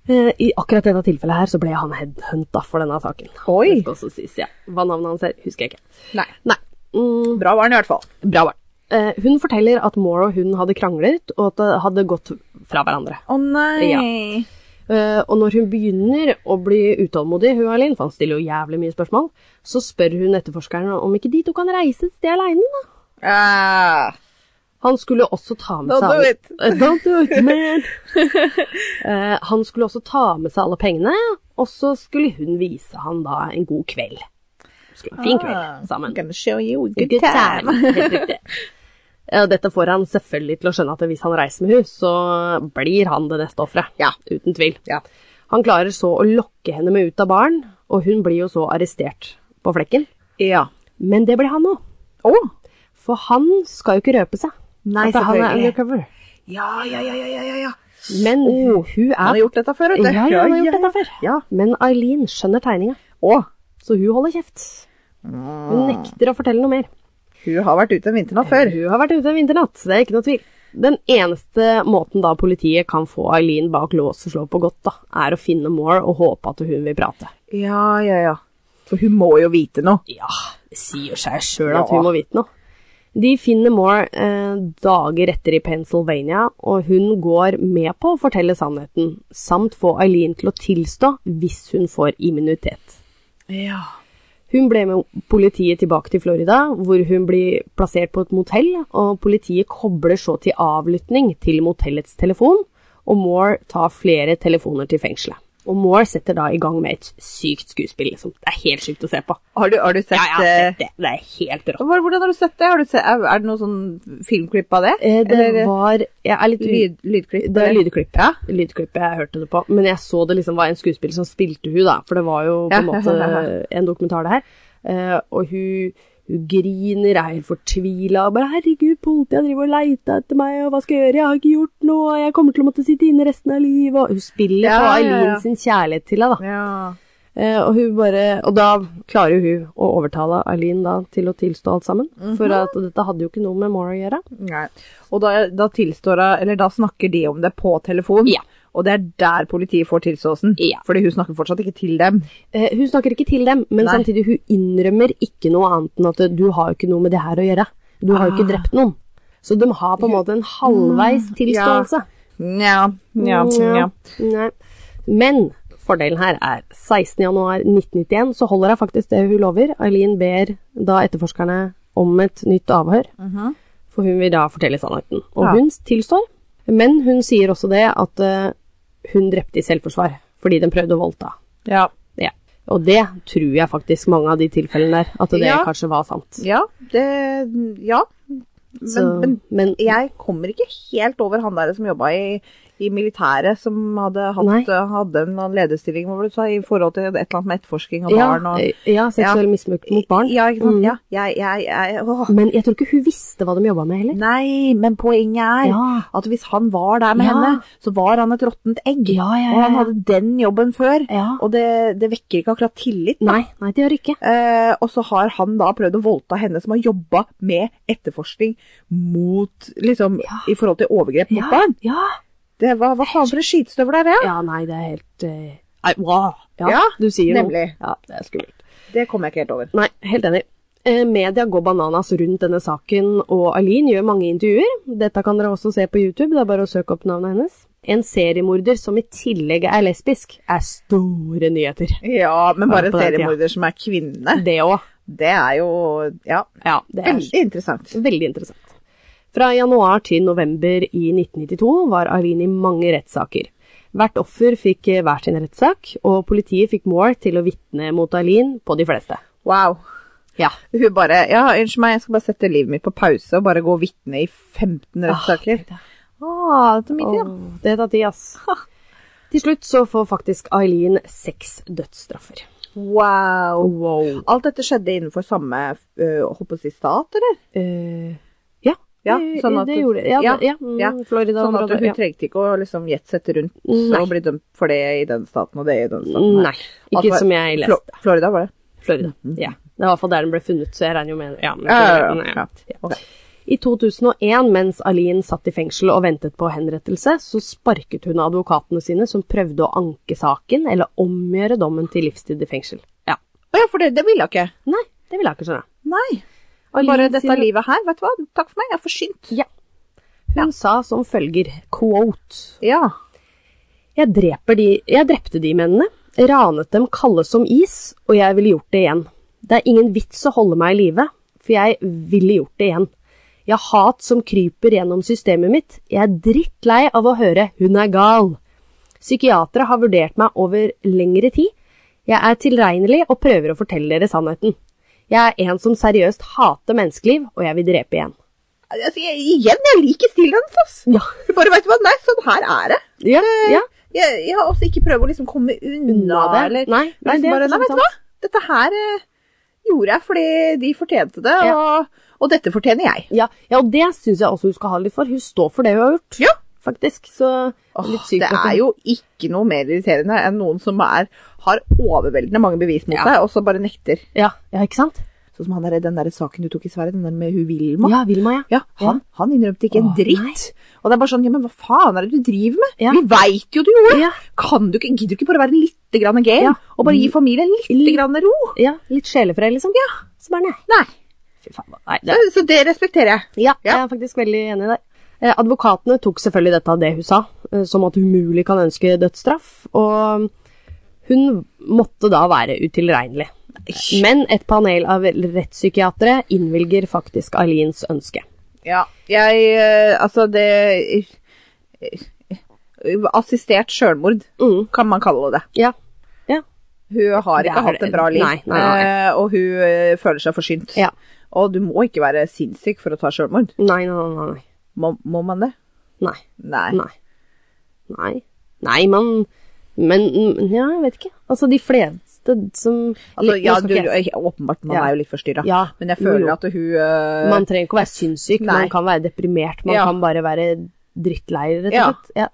[SPEAKER 1] Eh, I akkurat dette tilfellet her så ble han headhunta for denne saken.
[SPEAKER 2] Oi.
[SPEAKER 1] Det skal også sies, ja. Hva navnet hans er, husker jeg ikke.
[SPEAKER 2] Nei.
[SPEAKER 1] Nei. Mm,
[SPEAKER 2] Bra var han i hvert fall.
[SPEAKER 1] bra barn. Eh, hun forteller at Moore og hun hadde kranglet, og at det hadde gått fra hverandre.
[SPEAKER 2] Å nei.
[SPEAKER 1] Eh, og når hun begynner å bli utålmodig, hun Eileen, for han stiller jo jævlig mye spørsmål, så spør hun etterforskeren om ikke de to kan reise et sted aleine, da.
[SPEAKER 2] Ah,
[SPEAKER 1] Han skulle også ta med
[SPEAKER 2] Don't
[SPEAKER 1] seg
[SPEAKER 2] do
[SPEAKER 1] alle-
[SPEAKER 2] it.
[SPEAKER 1] Eh, Don't do it, man! Eh, han skulle også ta med seg alle pengene, og så skulle hun vise han da en god kveld. Det Skulle være en fin
[SPEAKER 2] ah,
[SPEAKER 1] kveld sammen.
[SPEAKER 2] Gonna show you a good,
[SPEAKER 1] Good
[SPEAKER 2] time.
[SPEAKER 1] time. Helt riktig. Eh, og Dette får han selvfølgelig til å skjønne at hvis han reiser med henne, så blir han det neste offeret.
[SPEAKER 2] Ja.
[SPEAKER 1] Uten tvil.
[SPEAKER 2] Ja.
[SPEAKER 1] Han klarer så å lokke henne med ut av baren, og hun blir jo så arrestert på flekken.
[SPEAKER 2] Ja.
[SPEAKER 1] Men det blir han òg,
[SPEAKER 2] Å!
[SPEAKER 1] for han skal jo ikke røpe seg.
[SPEAKER 2] Nei,
[SPEAKER 1] Altså, han er
[SPEAKER 2] selvfølgelig.
[SPEAKER 1] undercover.
[SPEAKER 2] Ja, ja, ja, ja, ja, ja, ja.
[SPEAKER 1] Men
[SPEAKER 2] Oh,
[SPEAKER 1] hun
[SPEAKER 2] Han har
[SPEAKER 1] er
[SPEAKER 2] gjort dette før, vet du.
[SPEAKER 1] Ja, ja, han har gjort dette før.
[SPEAKER 2] Ja.
[SPEAKER 1] Men Eileen skjønner tegninga,
[SPEAKER 2] Å,
[SPEAKER 1] så hun holder kjeft.
[SPEAKER 2] Mm.
[SPEAKER 1] Hun nekter å fortelle noe mer.
[SPEAKER 2] hun har vært ute en vinternatt før.
[SPEAKER 1] Hun har vært ute en vinternatt, så det er ikke noe tvil. Den eneste måten da politiet kan få Eileen bak lås og slå på godt, da, er å finne Moore og håpe at hun vil prate.
[SPEAKER 2] Ja, ja, ja. For hun må jo vite noe.
[SPEAKER 1] Ja, det sier seg sjøl at
[SPEAKER 2] Ja.
[SPEAKER 1] hun må vite noe. De finner Moore eh, dager etter i Pennsylvania, og hun går med på å fortelle sannheten, samt få Eileen til å tilstå hvis hun får immunitet.
[SPEAKER 2] Ja.
[SPEAKER 1] Hun ble med politiet tilbake til Florida, hvor hun blir plassert på et motell, og politiet kobler så til avlytting til motellets telefon, og Moore tar flere telefoner til fengselet. Og Moore setter da i gang med et sykt skuespill, liksom. Det er helt sykt å se på.
[SPEAKER 2] Har du, har du sett
[SPEAKER 1] Ja, jeg har
[SPEAKER 2] eh,
[SPEAKER 1] sett det. Det er helt rått.
[SPEAKER 2] hva- Hvordan har du sett det? Har du sett, er, er det noe sånn filmklipp av det?
[SPEAKER 1] Eh, Det
[SPEAKER 2] Eller eh,
[SPEAKER 1] var Jeg er litt u-
[SPEAKER 2] lyd, lydklipp?
[SPEAKER 1] Det er
[SPEAKER 2] eller?
[SPEAKER 1] lydklipp. eh. Lydklipp jeg hørte det på. Men jeg så det liksom var en skuespiller som spilte hun da. For det var jo på
[SPEAKER 2] Ja,
[SPEAKER 1] en
[SPEAKER 2] ja,
[SPEAKER 1] måte
[SPEAKER 2] ja, ja,
[SPEAKER 1] en dokumentar det her. Eh, og hun, hun griner, er helt fortvila og bare 'herregud, politiet driver og leita etter meg, og hva skal jeg gjøre, jeg har ikke gjort noe, og jeg kommer til å måtte sitte inne resten av livet', og hun spiller
[SPEAKER 2] Ja,
[SPEAKER 1] på
[SPEAKER 2] ja, ja.
[SPEAKER 1] Eileen sin kjærlighet til henne, da.
[SPEAKER 2] Ja.
[SPEAKER 1] Eh, og, hun bare, og da klarer jo hun å overtale Eileen da til å tilstå alt sammen.
[SPEAKER 2] Mhm.
[SPEAKER 1] For at dette hadde jo ikke noe med Mora å gjøre.
[SPEAKER 2] Nei. Og da, da tilstår hun, eller da snakker de om det på telefon.
[SPEAKER 1] Ja.
[SPEAKER 2] Og det er der politiet får tilståelsen.
[SPEAKER 1] Ja.
[SPEAKER 2] Fordi hun snakker fortsatt ikke til dem.
[SPEAKER 1] Eh, hun snakker ikke til dem, men
[SPEAKER 2] Nei.
[SPEAKER 1] samtidig hun innrømmer ikke noe annet enn at du har jo ikke noe med det her å gjøre. Du har jo ikke
[SPEAKER 2] Ah. Mm,
[SPEAKER 1] drept noen. Så de har på en måte en halvveis tilståelse.
[SPEAKER 2] Nja, nja, nja.
[SPEAKER 1] Nja. Nei. Men fordelen her er 16.1.1991 så holder hun faktisk det hun lover. Eileen ber da etterforskerne om et nytt avhør, for hun vil da fortelle sannheten. Og
[SPEAKER 2] Mhm. Ja.
[SPEAKER 1] hun tilstår, men hun sier også det at eh, hun drepte i selvforsvar fordi den prøvde å voldta.
[SPEAKER 2] Ja.
[SPEAKER 1] Ja. Og det tror jeg faktisk mange av de tilfellene der, at det
[SPEAKER 2] Ja.
[SPEAKER 1] kanskje var sant.
[SPEAKER 2] Ja, det Ja. Men,
[SPEAKER 1] Så, men,
[SPEAKER 2] men jeg kommer ikke helt over han der som jobba i, i militæret, som hadde,
[SPEAKER 1] Nei.
[SPEAKER 2] hatt, hadde en eller annen lederstilling hva var det du sa, i forhold til et eller annet med etterforskning av
[SPEAKER 1] ja,
[SPEAKER 2] barn og
[SPEAKER 1] ja, seksuell misbruk mot barn.
[SPEAKER 2] Ja, ikke sant.
[SPEAKER 1] Mm.
[SPEAKER 2] Ja, jeg, jeg, jeg åh.
[SPEAKER 1] Men jeg tror ikke hun visste hva de jobba med heller.
[SPEAKER 2] Nei, men poenget er
[SPEAKER 1] Ja.
[SPEAKER 2] at hvis han var der med
[SPEAKER 1] Ja.
[SPEAKER 2] henne, så var han et råttent egg.
[SPEAKER 1] Ja, ja,
[SPEAKER 2] Og han
[SPEAKER 1] ja, ja.
[SPEAKER 2] hadde den jobben før,
[SPEAKER 1] Ja.
[SPEAKER 2] og det, det vekker ikke akkurat tillit. da.
[SPEAKER 1] Nei, nei, det gjør ikke.
[SPEAKER 2] Eh, og så har han da prøvd å voldta henne som har jobba med etterforskning mot liksom,
[SPEAKER 1] Ja.
[SPEAKER 2] i forhold til overgrep mot
[SPEAKER 1] Ja,
[SPEAKER 2] barn.
[SPEAKER 1] ja.
[SPEAKER 2] Det var, hva faen for en skitstøvel er det?
[SPEAKER 1] ja, nei, det er helt eh, Nei, wow. Ja,
[SPEAKER 2] Ja,
[SPEAKER 1] du sier noe.
[SPEAKER 2] nemlig.
[SPEAKER 1] Ja, det er skummelt.
[SPEAKER 2] Det kommer jeg ikke helt over.
[SPEAKER 1] Nei, helt enig. Eh, Media går bananas rundt denne saken, og Aline gjør mange intervjuer. Dette kan dere også se på YouTube, det er bare å søke opp navnet hennes. En seriemorder som i tillegg er lesbisk, er store nyheter.
[SPEAKER 2] Ja, men bare
[SPEAKER 1] Ja, på den
[SPEAKER 2] seriemorder som er kvinne,
[SPEAKER 1] Det òg.
[SPEAKER 2] det er jo ja,
[SPEAKER 1] Ja, det er
[SPEAKER 2] veldig interessant.
[SPEAKER 1] veldig interessant. Fra januar til november i 1992 var Aline i mange rettssaker. Hvert offer fikk eh, hver sin rettssak, og politiet fikk Moore til å vitne mot Aline på de fleste.
[SPEAKER 2] Wow.
[SPEAKER 1] Ja.
[SPEAKER 2] Hun bare Ja, unnskyld meg, jeg skal bare sette livet mitt på pause og bare gå og vitne i 15 rettssaker. Ah, det er mitt, ja.
[SPEAKER 1] Åh, det tar tid, ass. Til slutt så får faktisk Eileen seks dødsstraffer.
[SPEAKER 2] Wow.
[SPEAKER 1] Wow.
[SPEAKER 2] Alt dette skjedde innenfor samme øh, holdt på å si stat, eller?
[SPEAKER 1] Eh, ja,
[SPEAKER 2] Ja, sånn at,
[SPEAKER 1] det gjorde Ja,
[SPEAKER 2] ja,
[SPEAKER 1] ja,
[SPEAKER 2] ja.
[SPEAKER 1] mm, Florida
[SPEAKER 2] sånn at
[SPEAKER 1] området,
[SPEAKER 2] hun
[SPEAKER 1] ja.
[SPEAKER 2] trengte ikke å liksom jetsette rundt
[SPEAKER 1] Nei.
[SPEAKER 2] og bli dømt for det i den staten og det i den staten. her.
[SPEAKER 1] Nei, ikke
[SPEAKER 2] Altså,
[SPEAKER 1] som jeg leste.
[SPEAKER 2] Flo- Florida var det.
[SPEAKER 1] Florida. Ja. Det var i hvert fall der den ble funnet, så jeg regner jo med ja, men-
[SPEAKER 2] Mm. Ja, ja, ja.
[SPEAKER 1] Nei,
[SPEAKER 2] Ja. Ok.
[SPEAKER 1] I 2001, mens Aline satt i fengsel og ventet på henrettelse, så sparket hun advokatene sine som prøvde å anke saken eller omgjøre dommen til livstid i feel. Ja.
[SPEAKER 2] Å ja, for det, det ville hun ikke.
[SPEAKER 1] Nei, det ville jeg ikke skjønne.
[SPEAKER 2] Nei.
[SPEAKER 1] Aline
[SPEAKER 2] Bare dette
[SPEAKER 1] sine-
[SPEAKER 2] livet her, vet du hva. Takk for meg, jeg er forsynt.
[SPEAKER 1] Ja. Hun sa som følger, quote,
[SPEAKER 2] Ja.
[SPEAKER 1] jeg, dreper de, jeg drepte de mennene, ranet dem kalde som is, og jeg ville gjort det igjen. Det er ingen vits å holde meg i live, for jeg ville gjort det igjen. Jeg har hat som kryper gjennom systemet mitt. Jeg er drittlei av å høre 'hun er gal'. Psykiatere har vurdert meg over lengre tid. Jeg er tilregnelig og prøver å fortelle dere sannheten. Jeg er en som seriøst hater menneskeliv, og jeg vil drepe igjen.
[SPEAKER 2] Altså, jeg, igjen, jeg liker stilen hennes, ass.
[SPEAKER 1] Ja.
[SPEAKER 2] Du bare vet du hva, nei, sånn her er det.
[SPEAKER 1] Ja, ja.
[SPEAKER 2] Jeg, jeg har også ikke prøvd å liksom komme unna,
[SPEAKER 1] Unna det.
[SPEAKER 2] eller
[SPEAKER 1] Nei, nei,
[SPEAKER 2] liksom
[SPEAKER 1] det er
[SPEAKER 2] bare,
[SPEAKER 1] for sant
[SPEAKER 2] nei, vet du hva, dette her eh, gjorde jeg fordi de fortjente det, og, og dette fortjener jeg.
[SPEAKER 1] Ja, ja og det syns jeg også hun skal ha litt for. Hun står for det hun har gjort,
[SPEAKER 2] Ja.
[SPEAKER 1] faktisk. Så
[SPEAKER 2] Åh,
[SPEAKER 1] litt sykt
[SPEAKER 2] det
[SPEAKER 1] at hun-
[SPEAKER 2] er jo ikke noe mer irriterende enn noen som er, har overveldende mange bevis mot
[SPEAKER 1] Ja.
[SPEAKER 2] deg, og så bare nekter.
[SPEAKER 1] ja, ja, ikke sant?
[SPEAKER 2] Sånn som han der, den der saken du tok i Sverige, den der med hun Vilma.
[SPEAKER 1] Ja, Vilma, ja.
[SPEAKER 2] Ja, han, han innrømte ikke en
[SPEAKER 1] Åh,
[SPEAKER 2] dritt. Og det er bare sånn, ja, men hva faen er det du driver med?
[SPEAKER 1] Ja.
[SPEAKER 2] Vi veit jo du gjorde det!
[SPEAKER 1] Ja.
[SPEAKER 2] Kan du ikke, gidder du ikke bare være litt grann game,
[SPEAKER 1] Ja.
[SPEAKER 2] og bare gi familien litt
[SPEAKER 1] Litt-
[SPEAKER 2] grann ro?
[SPEAKER 1] Ja, Litt sjelefred, liksom? Ja. Så bare nei.
[SPEAKER 2] Nei,
[SPEAKER 1] Fy faen. Nei, det,
[SPEAKER 2] så, så det respekterer jeg.
[SPEAKER 1] ja,
[SPEAKER 2] Ja.
[SPEAKER 1] jeg er faktisk veldig enig i det. Eh, advokatene tok selvfølgelig dette av det hun sa, eh, som at hun umulig kan ønske dødsstraff. Og mm, hun måtte da være utilregnelig. Men et panel av rettspsykiatere innvilger faktisk Alins ønske.
[SPEAKER 2] Ja, jeg, eh, altså det eh, Assistert sjølmord,
[SPEAKER 1] Mm.
[SPEAKER 2] kan man kalle det.
[SPEAKER 1] Ja. ja.
[SPEAKER 2] Hun har
[SPEAKER 1] Det
[SPEAKER 2] ikke
[SPEAKER 1] er-
[SPEAKER 2] hatt et bra liv,
[SPEAKER 1] nei, nei, nei.
[SPEAKER 2] eh, og hun eh, føler seg forsynt.
[SPEAKER 1] Ja.
[SPEAKER 2] Og du må ikke være sinnssyk for å ta sjølmord.
[SPEAKER 1] Nei, nei, nei. nei.
[SPEAKER 2] Må, må man det?
[SPEAKER 1] nei.
[SPEAKER 2] Nei.
[SPEAKER 1] Nei. Nei, Nei man Men mm, ja, jeg vet ikke. Altså, de fleste som
[SPEAKER 2] Altså,
[SPEAKER 1] Nå
[SPEAKER 2] ja,
[SPEAKER 1] skal
[SPEAKER 2] du,
[SPEAKER 1] ikke jeg-
[SPEAKER 2] åpenbart, man
[SPEAKER 1] Ja.
[SPEAKER 2] er jo litt forstyrra.
[SPEAKER 1] Ja,
[SPEAKER 2] Men jeg
[SPEAKER 1] jo,
[SPEAKER 2] føler
[SPEAKER 1] jo.
[SPEAKER 2] at hun eh,
[SPEAKER 1] Man trenger ikke å være sinnssyk,
[SPEAKER 2] Nei.
[SPEAKER 1] man kan være deprimert, man
[SPEAKER 2] Ja.
[SPEAKER 1] kan bare være drittlei, rett og
[SPEAKER 2] Ja.
[SPEAKER 1] slett. Ja.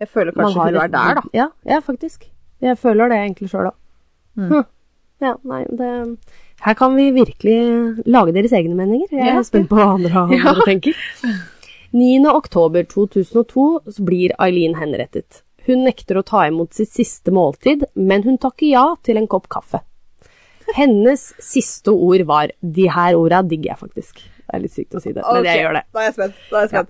[SPEAKER 2] Jeg føler
[SPEAKER 1] Man
[SPEAKER 2] kanskje
[SPEAKER 1] har
[SPEAKER 2] hun er
[SPEAKER 1] litt-
[SPEAKER 2] der, da.
[SPEAKER 1] Ja, ja, faktisk. Jeg føler det egentlig sjøl òg.
[SPEAKER 2] Mm.
[SPEAKER 1] Hm. Ja, nei, det Her kan vi virkelig lage deres egne meninger. Jeg er
[SPEAKER 2] Ja.
[SPEAKER 1] spent på hva andre, andre tenker. 9. oktober 2002 så blir Eileen henrettet. Hun nekter å ta imot sitt siste måltid, men hun takker ja til en kopp kaffe. Hennes siste ord var 'De her orda digger jeg faktisk'. Det er litt sykt å si det, men jeg
[SPEAKER 2] Ok,
[SPEAKER 1] gjør det.
[SPEAKER 2] Da er jeg spent. Da er jeg spent.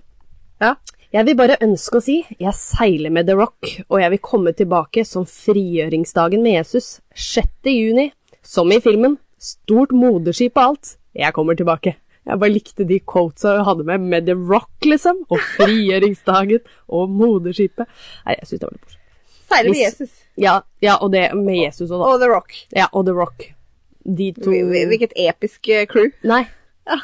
[SPEAKER 2] Ja.
[SPEAKER 1] Jeg vil bare ønske å si jeg seiler med The Rock, og jeg vil komme tilbake som frigjøringsdagen med Jesus 6. juni, som i filmen. Stort moderskip og alt. Jeg kommer tilbake. Jeg bare likte de quotesa hun hadde med med The Rock, liksom. Og frigjøringsdagen og moderskipet. Nei, jeg syns det var litt morsomt.
[SPEAKER 2] Seiler med
[SPEAKER 1] Hvis-
[SPEAKER 2] Jesus
[SPEAKER 1] Ja, ja, og det med Jesus og da.
[SPEAKER 2] og The Rock.
[SPEAKER 1] Ja, og The Rock. De to
[SPEAKER 2] Hvil- hvil- Hvilket episk eh, crew.
[SPEAKER 1] Nei.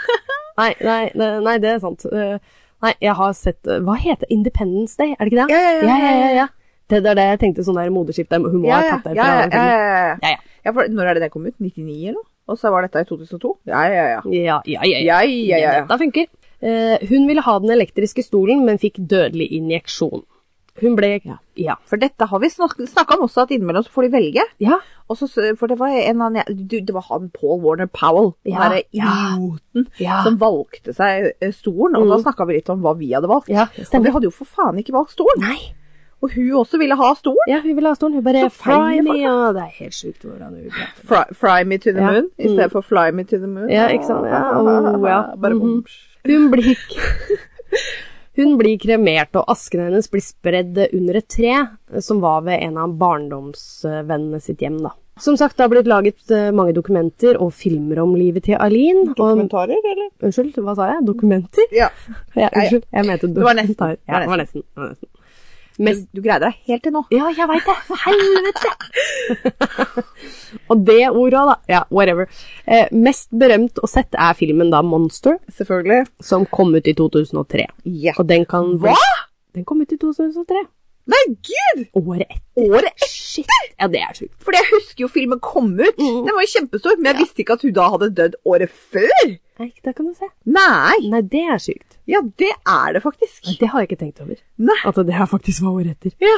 [SPEAKER 1] Nei, nei, nei, nei, det er sant. Eh, Nei, jeg har sett eh, Hva heter det? Independence Day, er det ikke det?
[SPEAKER 2] Ja, ja, ja,
[SPEAKER 1] ja,
[SPEAKER 2] ja,
[SPEAKER 1] ja, ja. Det det er det jeg tenkte, sånn der moderskip der, hun må
[SPEAKER 2] Ja,
[SPEAKER 1] ha
[SPEAKER 2] ja,
[SPEAKER 1] tatt det
[SPEAKER 2] ja,
[SPEAKER 1] fra
[SPEAKER 2] ja, ja,
[SPEAKER 1] filmen.
[SPEAKER 2] ja, ja.
[SPEAKER 1] Ja, ja.
[SPEAKER 2] Ja, for når er det den kom ut? 99 eller noe? Og så var dette i 2002? Ja, ja, ja.
[SPEAKER 1] Ja, ja, ja.
[SPEAKER 2] Ja, ja, ja, ja.
[SPEAKER 1] Dette funker. Eh, hun ville ha den elektriske stolen, men fikk dødelig injeksjon. Hun ble Ja. Ja.
[SPEAKER 2] For dette har vi snakka om også, at innimellom så får de velge.
[SPEAKER 1] ja.
[SPEAKER 2] Og så, for det var en annen jeg- du, Det var han Paul Warner Powell, den
[SPEAKER 1] Ja,
[SPEAKER 2] derre
[SPEAKER 1] ja.
[SPEAKER 2] idioten,
[SPEAKER 1] Ja. Mm.
[SPEAKER 2] som valgte seg eh, stolen. Og da snakka vi litt om hva vi hadde valgt.
[SPEAKER 1] Ja,
[SPEAKER 2] og vi
[SPEAKER 1] stemmer.
[SPEAKER 2] hadde jo for faen ikke valgt stolen.
[SPEAKER 1] Nei.
[SPEAKER 2] Og hun også ville ha stolen.
[SPEAKER 1] Ja, hun ville ha stolen. Hun bare
[SPEAKER 2] Så
[SPEAKER 1] Fry
[SPEAKER 2] feil
[SPEAKER 1] me, og Det er helt sjukt hvordan hun prater.
[SPEAKER 2] Fry, fry me to the
[SPEAKER 1] Ja. Mm.
[SPEAKER 2] moon i stedet for fly me to the moon.
[SPEAKER 1] Ja, ikke sant? Ja, oh, ja.
[SPEAKER 2] Bare
[SPEAKER 1] Mhm.
[SPEAKER 2] bom.
[SPEAKER 1] Hun blir Hun blir kremert, og asken hennes blir spredd under et tre som var ved en av barndomsvennene sitt hjem, da. Som sagt, det har blitt laget eh, mange dokumenter og filmer om livet til Aline. Og,
[SPEAKER 2] Kommentarer, eller?
[SPEAKER 1] unnskyld, hva sa jeg? Dokumenter?
[SPEAKER 2] Ja.
[SPEAKER 1] Ja,
[SPEAKER 2] ja.
[SPEAKER 1] unnskyld, jeg mente
[SPEAKER 2] var nesten.
[SPEAKER 1] dokumentar. Ja, det var nesten. det var nesten. Mest
[SPEAKER 2] Du greide deg helt til nå.
[SPEAKER 1] ja, jeg veit det! For helvete! og det ordet, da. Ja, whatever. Eh, mest berømt og sett er filmen da Monster,
[SPEAKER 2] Selvfølgelig.
[SPEAKER 1] som kom ut i 2003.
[SPEAKER 2] Ja.
[SPEAKER 1] Og den kan
[SPEAKER 2] Hva?!
[SPEAKER 1] Den kom ut i 2003.
[SPEAKER 2] Nei, gud!
[SPEAKER 1] Året etter.
[SPEAKER 2] Året etter!
[SPEAKER 1] Shit! Ja, det er sjukt. Mm.
[SPEAKER 2] Fordi jeg husker jo filmen kom ut. Den var jo kjempestor, men jeg visste ikke at hun da hadde dødd året før.
[SPEAKER 1] Nei, der kan du se.
[SPEAKER 2] Nei!
[SPEAKER 1] Nei, det er sjukt.
[SPEAKER 2] Ja, det er det faktisk.
[SPEAKER 1] Det har jeg ikke tenkt over.
[SPEAKER 2] Nei.
[SPEAKER 1] At det er faktisk favoritter.
[SPEAKER 2] Ja.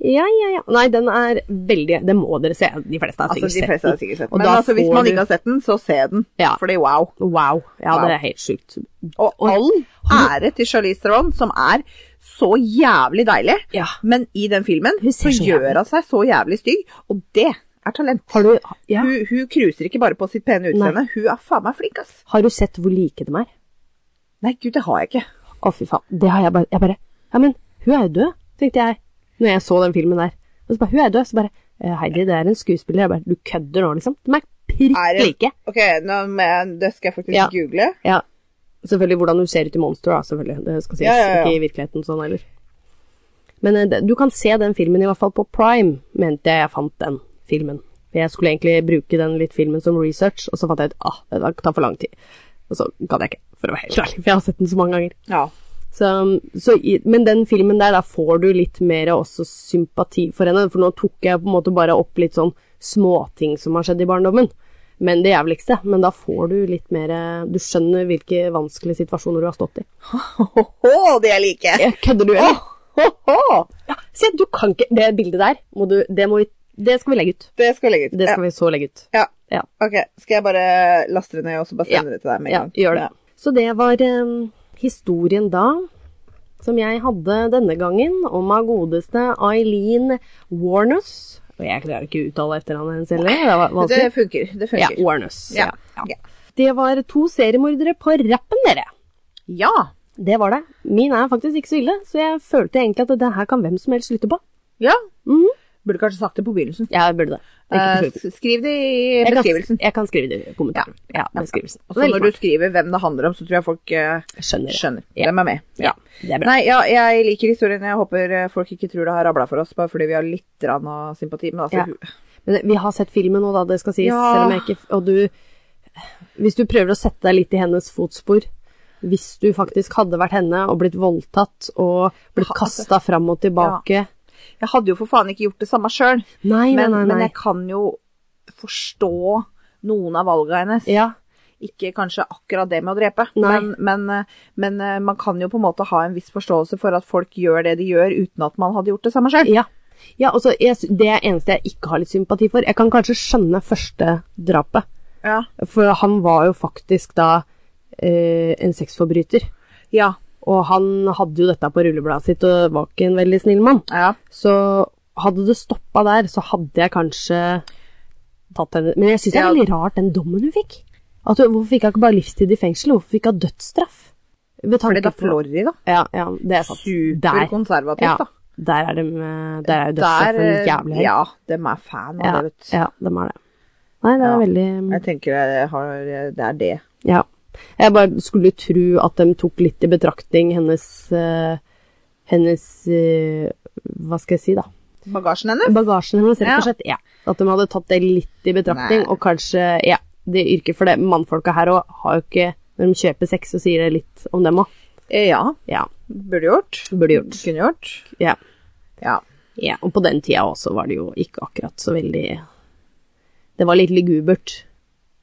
[SPEAKER 1] Ja, ja, ja. Nei, den er veldig Det må dere se. De fleste har
[SPEAKER 2] Altså,
[SPEAKER 1] sikkert
[SPEAKER 2] de fleste har
[SPEAKER 1] sett den.
[SPEAKER 2] sikkert sett
[SPEAKER 1] Og
[SPEAKER 2] den. Men
[SPEAKER 1] da
[SPEAKER 2] altså, hvis
[SPEAKER 1] får
[SPEAKER 2] man
[SPEAKER 1] du-
[SPEAKER 2] ikke har sett den, så se den.
[SPEAKER 1] Ja.
[SPEAKER 2] Fordi wow.
[SPEAKER 1] Wow. Ja,
[SPEAKER 2] Wow.
[SPEAKER 1] det er helt sjukt.
[SPEAKER 2] Og
[SPEAKER 1] Og-
[SPEAKER 2] all ære til Charlize Theron, som er så jævlig deilig.
[SPEAKER 1] Ja.
[SPEAKER 2] Men i den filmen
[SPEAKER 1] Hun ser
[SPEAKER 2] så
[SPEAKER 1] så jævlig.
[SPEAKER 2] gjør hun seg så jævlig stygg, og det er talent.
[SPEAKER 1] Har du, ja.
[SPEAKER 2] Hun, hun cruiser ikke bare på sitt pene utseende, hun er faen meg flink, ass.
[SPEAKER 1] har du sett hvor like de er?
[SPEAKER 2] Nei, gud, det har jeg ikke.
[SPEAKER 1] Å, fy faen. Det har jeg bare Jeg bare Ja, men hun er jo død, tenkte jeg når jeg så den filmen der. Og så bare Hun er død. Så bare «Eh, Heidi, det er en skuespiller. Jeg bare Du kødder nå, liksom? De er
[SPEAKER 2] Er
[SPEAKER 1] prikk
[SPEAKER 2] det-
[SPEAKER 1] like.
[SPEAKER 2] Ok, nå må jeg, det skal jeg faktisk
[SPEAKER 1] Ja.
[SPEAKER 2] google.
[SPEAKER 1] Ja. Selvfølgelig hvordan hun ser ut i Monster, da, selvfølgelig. Det skal sies.
[SPEAKER 2] Ja, ja, ja.
[SPEAKER 1] Ikke i virkeligheten sånn heller. Men eh, det- du kan se den filmen i hvert fall på Prime, mente jeg jeg fant den filmen. For Jeg skulle egentlig bruke den litt filmen som research, og så fant jeg ut ah, det tar for lang tid. Og så gadd jeg ikke, for å være helt ærlig, for jeg har sett den så mange ganger.
[SPEAKER 2] Ja.
[SPEAKER 1] Så, så, i- men den filmen der, da får du litt mer også sympati for henne. For nå tok jeg på en måte bare opp litt sånn småting som har skjedd i barndommen. Men det jævligste. Men da får du litt mer eh, Du skjønner hvilke vanskelige situasjoner du har stått i.
[SPEAKER 2] Ho-ho, det jeg liker!
[SPEAKER 1] Jeg kødder du, eller?
[SPEAKER 2] Ho-ho!
[SPEAKER 1] Ja, se, du kan ikke Det bildet der, må du, det, må vi, det skal vi legge ut.
[SPEAKER 2] Det skal jeg legge ut.
[SPEAKER 1] Det skal vi så legge ut.
[SPEAKER 2] Ja.
[SPEAKER 1] Ja.
[SPEAKER 2] Ok, skal jeg bare laste det ned og så bare sende det til deg med en
[SPEAKER 1] Ja,
[SPEAKER 2] gang?
[SPEAKER 1] gjør det. Så det var eh, historien da, som jeg hadde denne gangen, om av godeste Eileen Warnus. Og jeg klarer ikke å uttale etternavnet hennes heller. Det var
[SPEAKER 2] Ja. Det
[SPEAKER 1] vanskelig.
[SPEAKER 2] funker. Det
[SPEAKER 1] Ja,
[SPEAKER 2] funker.
[SPEAKER 1] Warnus. Ja.
[SPEAKER 2] Ja. Ja.
[SPEAKER 1] Det var to seriemordere på rappen, dere.
[SPEAKER 2] Ja.
[SPEAKER 1] Det var det. Min er faktisk ikke så ille, så jeg følte egentlig at det her kan hvem som helst lytte på.
[SPEAKER 2] ja.
[SPEAKER 1] Mhm.
[SPEAKER 2] Burde kanskje sagt det på begynnelsen.
[SPEAKER 1] Jeg burde det. Det er
[SPEAKER 2] Eh,
[SPEAKER 1] ikke
[SPEAKER 2] s- skriv det i
[SPEAKER 1] jeg
[SPEAKER 2] beskrivelsen.
[SPEAKER 1] kan, jeg kan skrive det i kommentaren. Ja, beskrivelsen.
[SPEAKER 2] Og så når du skriver hvem det handler om, så tror jeg folk eh,
[SPEAKER 1] skjønner det.
[SPEAKER 2] skjønner.
[SPEAKER 1] Ja.
[SPEAKER 2] Hvem er med.
[SPEAKER 1] Ja, det er bra.
[SPEAKER 2] Nei, ja, jeg liker historien. Jeg håper eh, folk ikke tror det har rabla for oss, bare fordi vi har litt grann av sympati. Men altså,
[SPEAKER 1] Ja. Men vi har sett filmen nå, da, det skal sies.
[SPEAKER 2] Ja.
[SPEAKER 1] Selv om jeg ikke Og du Hvis du prøver å sette deg litt i hennes fotspor Hvis du faktisk hadde vært henne og blitt voldtatt og blitt
[SPEAKER 2] Ha- altså-
[SPEAKER 1] kasta fram og tilbake
[SPEAKER 2] jeg hadde jo for faen ikke gjort det samme sjøl,
[SPEAKER 1] Nei, nei,
[SPEAKER 2] men,
[SPEAKER 1] nei.
[SPEAKER 2] men
[SPEAKER 1] nei.
[SPEAKER 2] jeg kan jo forstå noen av valga hennes.
[SPEAKER 1] Ja.
[SPEAKER 2] Ikke kanskje akkurat det med å drepe,
[SPEAKER 1] Nei.
[SPEAKER 2] men, men, eh, men eh, man kan jo på en måte ha en viss forståelse for at folk gjør det de gjør, uten at man hadde gjort det samme sjøl.
[SPEAKER 1] ja. ja altså, jeg, sy- det er eneste jeg ikke har litt sympati for. Jeg kan kanskje skjønne første drapet.
[SPEAKER 2] Ja.
[SPEAKER 1] For han var jo faktisk da eh, en sexforbryter.
[SPEAKER 2] Ja.
[SPEAKER 1] Og han hadde jo dette på rullebladet sitt og var ikke en veldig snill mann.
[SPEAKER 2] ja.
[SPEAKER 1] Så hadde det stoppa der, så hadde jeg kanskje tatt henne Men jeg syns det er
[SPEAKER 2] Ja.
[SPEAKER 1] veldig rart den dommen hun fikk. At hun, hvorfor fikk hun ikke bare livstid i fengsel? Hvorfor fikk hun dødsstraff? Ved
[SPEAKER 2] Fordi
[SPEAKER 1] tanke
[SPEAKER 2] da
[SPEAKER 1] på-
[SPEAKER 2] Florida.
[SPEAKER 1] Ja, ja, det er sant. Der,
[SPEAKER 2] Superkonservativt,
[SPEAKER 1] ja,
[SPEAKER 2] da.
[SPEAKER 1] der er de eh, Der er jo dødsstraff
[SPEAKER 2] Der, eh,
[SPEAKER 1] en jævlig høy.
[SPEAKER 2] Ja, dem er fan av
[SPEAKER 1] ja,
[SPEAKER 2] det, vet du.
[SPEAKER 1] ja, de er det. Nei, det er
[SPEAKER 2] Ja.
[SPEAKER 1] veldig
[SPEAKER 2] Jeg tenker jeg har, det er det.
[SPEAKER 1] Ja. Jeg bare skulle tro at de tok litt i betraktning hennes eh, Hennes eh, Hva skal jeg si, da?
[SPEAKER 2] Bagasjen hennes?
[SPEAKER 1] Bagasjen hennes, rett og
[SPEAKER 2] Ja.
[SPEAKER 1] slett. Ja. At de hadde tatt det litt i betraktning,
[SPEAKER 2] Nei.
[SPEAKER 1] og kanskje ja, det yrket for det. Mannfolka her òg har jo ikke Når de kjøper sex, så sier det litt om dem òg.
[SPEAKER 2] Eh, Ja,
[SPEAKER 1] Ja.
[SPEAKER 2] burde gjort.
[SPEAKER 1] Burde gjort.
[SPEAKER 2] Kunne gjort.
[SPEAKER 1] Ja.
[SPEAKER 2] Ja.
[SPEAKER 1] ja. Og på den tida også var det jo ikke akkurat så veldig Det var litt lugubert.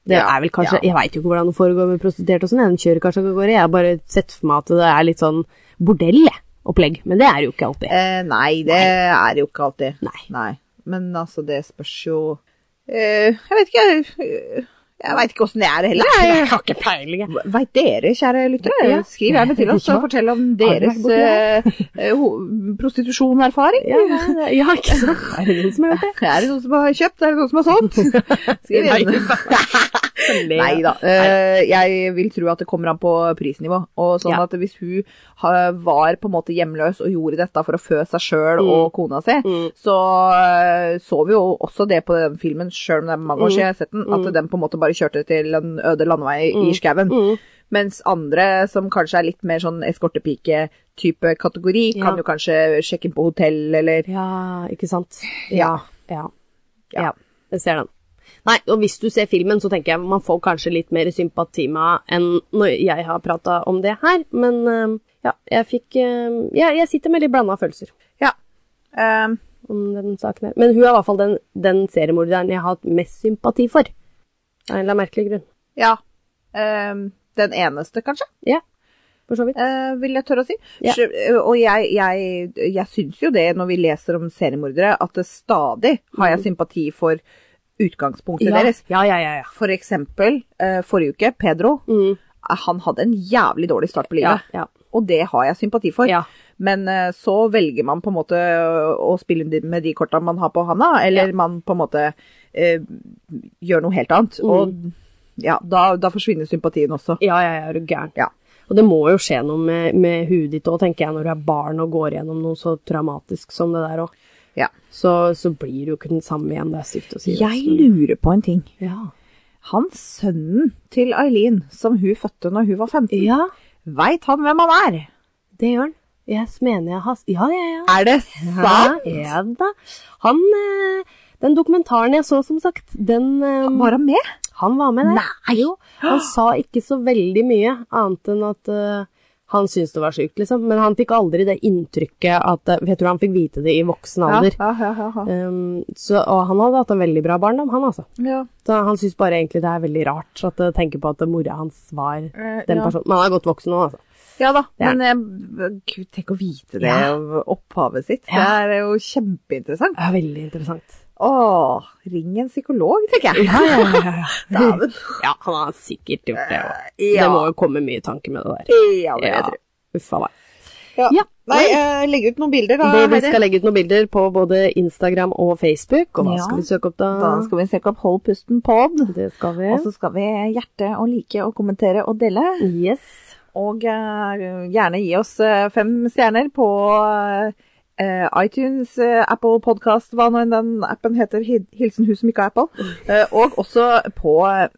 [SPEAKER 1] Det
[SPEAKER 2] Ja,
[SPEAKER 1] er vel kanskje Jeg
[SPEAKER 2] ja.
[SPEAKER 1] veit jo ikke hvordan det foregår med prostituerte og sånn, jeg. de kjører kanskje ikke av gårde. Jeg har bare sett for meg at det er litt sånn bordellopplegg, men det er det jo ikke alltid.
[SPEAKER 2] Eh, nei, det er det jo ikke alltid.
[SPEAKER 1] Nei.
[SPEAKER 2] Men altså, det spørs jo eh, Jeg vet ikke eh, Jeg veit ikke åssen det er heller. jeg.
[SPEAKER 1] har ikke peiling, jeg.
[SPEAKER 2] Veit dere, kjære lyttere?
[SPEAKER 1] Ja.
[SPEAKER 2] Skriv gjerne til oss og fortell om
[SPEAKER 1] Har dere
[SPEAKER 2] deres
[SPEAKER 1] vært borti
[SPEAKER 2] eh, ho- prostitusjonerfaring.
[SPEAKER 1] Ja, nei, det- ja, ikke sant. Er det noen som har gjort det?
[SPEAKER 2] Er det noen som har kjøpt? Er det noen som har solgt? Skriv
[SPEAKER 1] Nei,
[SPEAKER 2] gjerne. Nei da. Eh, jeg vil tro at det kommer an på prisnivå. Og sånn
[SPEAKER 1] Ja.
[SPEAKER 2] at hvis hun ha, var på en måte hjemløs og gjorde dette for å fø seg sjøl og kona si,
[SPEAKER 1] Mm.
[SPEAKER 2] så eh, så vi jo også det på den filmen, sjøl om det er mange
[SPEAKER 1] Mm.
[SPEAKER 2] år siden jeg har sett den, at den på en måte bare kjørte til en øde landevei i skauen.
[SPEAKER 1] Mm.
[SPEAKER 2] Mens andre, som kanskje er litt mer sånn eskortepike-type kategori,
[SPEAKER 1] Ja.
[SPEAKER 2] kan jo kanskje sjekke inn på hotell eller
[SPEAKER 1] Ja, ikke sant?
[SPEAKER 2] Ja.
[SPEAKER 1] Ja.
[SPEAKER 2] Ja.
[SPEAKER 1] ja. Jeg ser den. Nei, og hvis du ser filmen, så tenker jeg man får kanskje litt mer sympati med henne enn når jeg har prata om det her, men eh, ja, jeg fikk eh, Ja, jeg sitter med litt blanda følelser
[SPEAKER 2] Ja. Eh,
[SPEAKER 1] om den saken her. Men hun er i hvert fall den, den seriemorderen jeg har hatt mest sympati for. Av en eller annen merkelig grunn.
[SPEAKER 2] ja. Eh, den eneste, kanskje,
[SPEAKER 1] for så vidt.
[SPEAKER 2] eh, vil jeg tørre å si.
[SPEAKER 1] Ja.
[SPEAKER 2] Så, eh, Og jeg, jeg, jeg syns jo det, når vi leser om seriemordere, at det stadig har jeg sympati for utgangspunktet
[SPEAKER 1] Mm. Ja,
[SPEAKER 2] deres.
[SPEAKER 1] ja, ja. ja, ja.
[SPEAKER 2] For eksempel eh, forrige uke, Pedro. Eh,
[SPEAKER 1] Mm.
[SPEAKER 2] Han hadde en jævlig dårlig start på
[SPEAKER 1] Ja,
[SPEAKER 2] livet,
[SPEAKER 1] ja,
[SPEAKER 2] og det har jeg sympati for.
[SPEAKER 1] ja.
[SPEAKER 2] Men eh, så velger man på en måte eh, å spille med de korta man har på handa, eller man på en måte eh, gjør noe helt annet. Og ja, da, da forsvinner sympatien også.
[SPEAKER 1] Mm. Ja, ja, ja, er du gæren.
[SPEAKER 2] Ja.
[SPEAKER 1] Og det må jo skje noe med, med huet ditt òg, tenker jeg, når du er barn og går gjennom noe så traumatisk som det der òg.
[SPEAKER 2] Ja.
[SPEAKER 1] Så, så blir du jo ikke den samme igjen, det er stygt å si.
[SPEAKER 2] Jeg
[SPEAKER 1] altså.
[SPEAKER 2] lurer på en ting.
[SPEAKER 1] ja.
[SPEAKER 2] Han sønnen til Eileen, som hun fødte når hun var 15,
[SPEAKER 1] ja,
[SPEAKER 2] veit han hvem han er?
[SPEAKER 1] det gjør han. Jeg mener jeg har Ja, ja, ja.
[SPEAKER 2] Er det sant?
[SPEAKER 1] Ja, ja da. Han eh, Den dokumentaren jeg så, som sagt, den eh,
[SPEAKER 2] Var han med?
[SPEAKER 1] Han var med der.
[SPEAKER 2] Nei!
[SPEAKER 1] Jo, han sa ikke så veldig mye, annet enn at eh, han syntes det var sjukt, liksom. Men han fikk aldri det inntrykket at eh, Jeg tror han fikk vite det i voksen
[SPEAKER 2] Ja,
[SPEAKER 1] alder.
[SPEAKER 2] ja, ja, ja, ja.
[SPEAKER 1] Um, så, og han hadde hatt en veldig bra barndom, han altså.
[SPEAKER 2] ja.
[SPEAKER 1] Så han syns bare egentlig det er veldig rart at jeg tenker på at mora hans var den
[SPEAKER 2] Eh, ja.
[SPEAKER 1] personen. Men han er godt voksen nå, altså.
[SPEAKER 2] Ja da,
[SPEAKER 1] Det er
[SPEAKER 2] men eh, gud, tenk å vite det
[SPEAKER 1] Ja.
[SPEAKER 2] av opphavet sitt.
[SPEAKER 1] Ja.
[SPEAKER 2] Det er jo kjempeinteressant.
[SPEAKER 1] Det er veldig interessant.
[SPEAKER 2] Åh, ring en psykolog, tenker jeg.
[SPEAKER 1] Ja, ja, ja, ja.
[SPEAKER 2] Damen.
[SPEAKER 1] ja han har sikkert gjort det òg.
[SPEAKER 2] Ja.
[SPEAKER 1] Det må jo komme mye tanke med det der.
[SPEAKER 2] Ja, det vil jeg tro.
[SPEAKER 1] Uffa meg.
[SPEAKER 2] Ja.
[SPEAKER 1] Ja.
[SPEAKER 2] Nei, eh, legg ut noen bilder da,
[SPEAKER 1] Det, vi
[SPEAKER 2] Heidi.
[SPEAKER 1] skal legge ut noen bilder på både Instagram og Facebook, og hva
[SPEAKER 2] Ja.
[SPEAKER 1] skal vi søke opp da?
[SPEAKER 2] Da skal Altså- vi søke opp Hold pusten pod.
[SPEAKER 1] Det skal vi.
[SPEAKER 2] Og så skal vi hjerte og like og kommentere og dele.
[SPEAKER 1] Yes.
[SPEAKER 2] Og eh, gjerne gi oss eh, fem stjerner på eh, iTunes, eh, Apple Podcast, hva nå enn den appen heter. Hil- Hilsen hun som ikke har Apple. Eh, og også på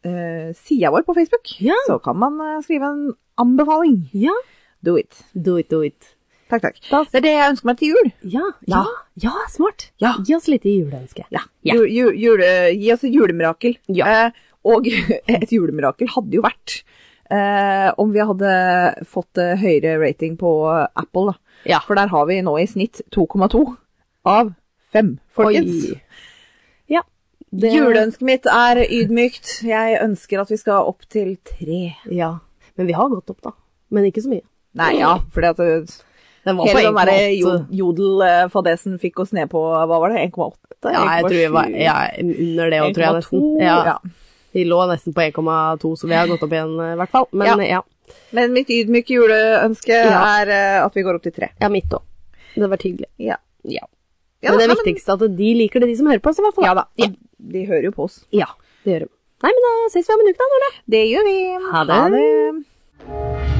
[SPEAKER 2] uh, sida vår på Facebook.
[SPEAKER 1] Ja.
[SPEAKER 2] Så kan man eh, skrive en anbefaling.
[SPEAKER 1] Ja.
[SPEAKER 2] Do it.
[SPEAKER 1] Do it, do it.
[SPEAKER 2] Takk, takk.
[SPEAKER 1] Da-
[SPEAKER 2] Det er det jeg ønsker meg til jul.
[SPEAKER 1] Ja, ja,
[SPEAKER 2] Ja.
[SPEAKER 1] ja, smart.
[SPEAKER 2] Ja.
[SPEAKER 1] Gi oss litt juleønske.
[SPEAKER 2] Ja.
[SPEAKER 1] Ja.
[SPEAKER 2] Ju- ju- jule, gi oss et julemirakel.
[SPEAKER 1] Ja.
[SPEAKER 2] Eh, og et julemirakel hadde jo vært eh, om vi hadde fått eh, høyere rating på Apple, da.
[SPEAKER 1] Ja.
[SPEAKER 2] For der har vi nå i snitt 2,2 av 5, folkens.
[SPEAKER 1] Oi. Ja. det-
[SPEAKER 2] Juleønsket mitt er ydmykt. Jeg ønsker at vi skal opp til tre.
[SPEAKER 1] Ja. Men vi har gått opp, da. Men ikke så mye.
[SPEAKER 2] Nei, ja, fordi at det-
[SPEAKER 1] Den
[SPEAKER 2] hele den derre
[SPEAKER 1] 1,8.
[SPEAKER 2] jodel-fadesen fikk oss ned på, hva var det, 1,8?
[SPEAKER 1] Ja, jeg tror vi var
[SPEAKER 2] 1,7?
[SPEAKER 1] ja, under det òg, tror jeg
[SPEAKER 2] 1,2,
[SPEAKER 1] nesten. Ja. Vi lå nesten på 1,2, så vi har gått opp igjen eh, i hvert fall. Men
[SPEAKER 2] Ja.
[SPEAKER 1] ja, ja.
[SPEAKER 2] Men mitt ydmyke juleønske
[SPEAKER 1] Ja.
[SPEAKER 2] er eh, at vi går opp til tre.
[SPEAKER 1] mitt òg. Det var tydelig.
[SPEAKER 2] Ja.
[SPEAKER 1] Ja.
[SPEAKER 2] Ja,
[SPEAKER 1] Men det
[SPEAKER 2] nei,
[SPEAKER 1] er viktigste at de liker det, de som hører på oss, i hvert fall.
[SPEAKER 2] Ja da.
[SPEAKER 1] Ja,
[SPEAKER 2] De hører jo på oss.
[SPEAKER 1] ja det gjør de. Nei, men da ses vi om en uke, da, Nora.
[SPEAKER 2] Det gjør vi.
[SPEAKER 1] Ha det.
[SPEAKER 2] det.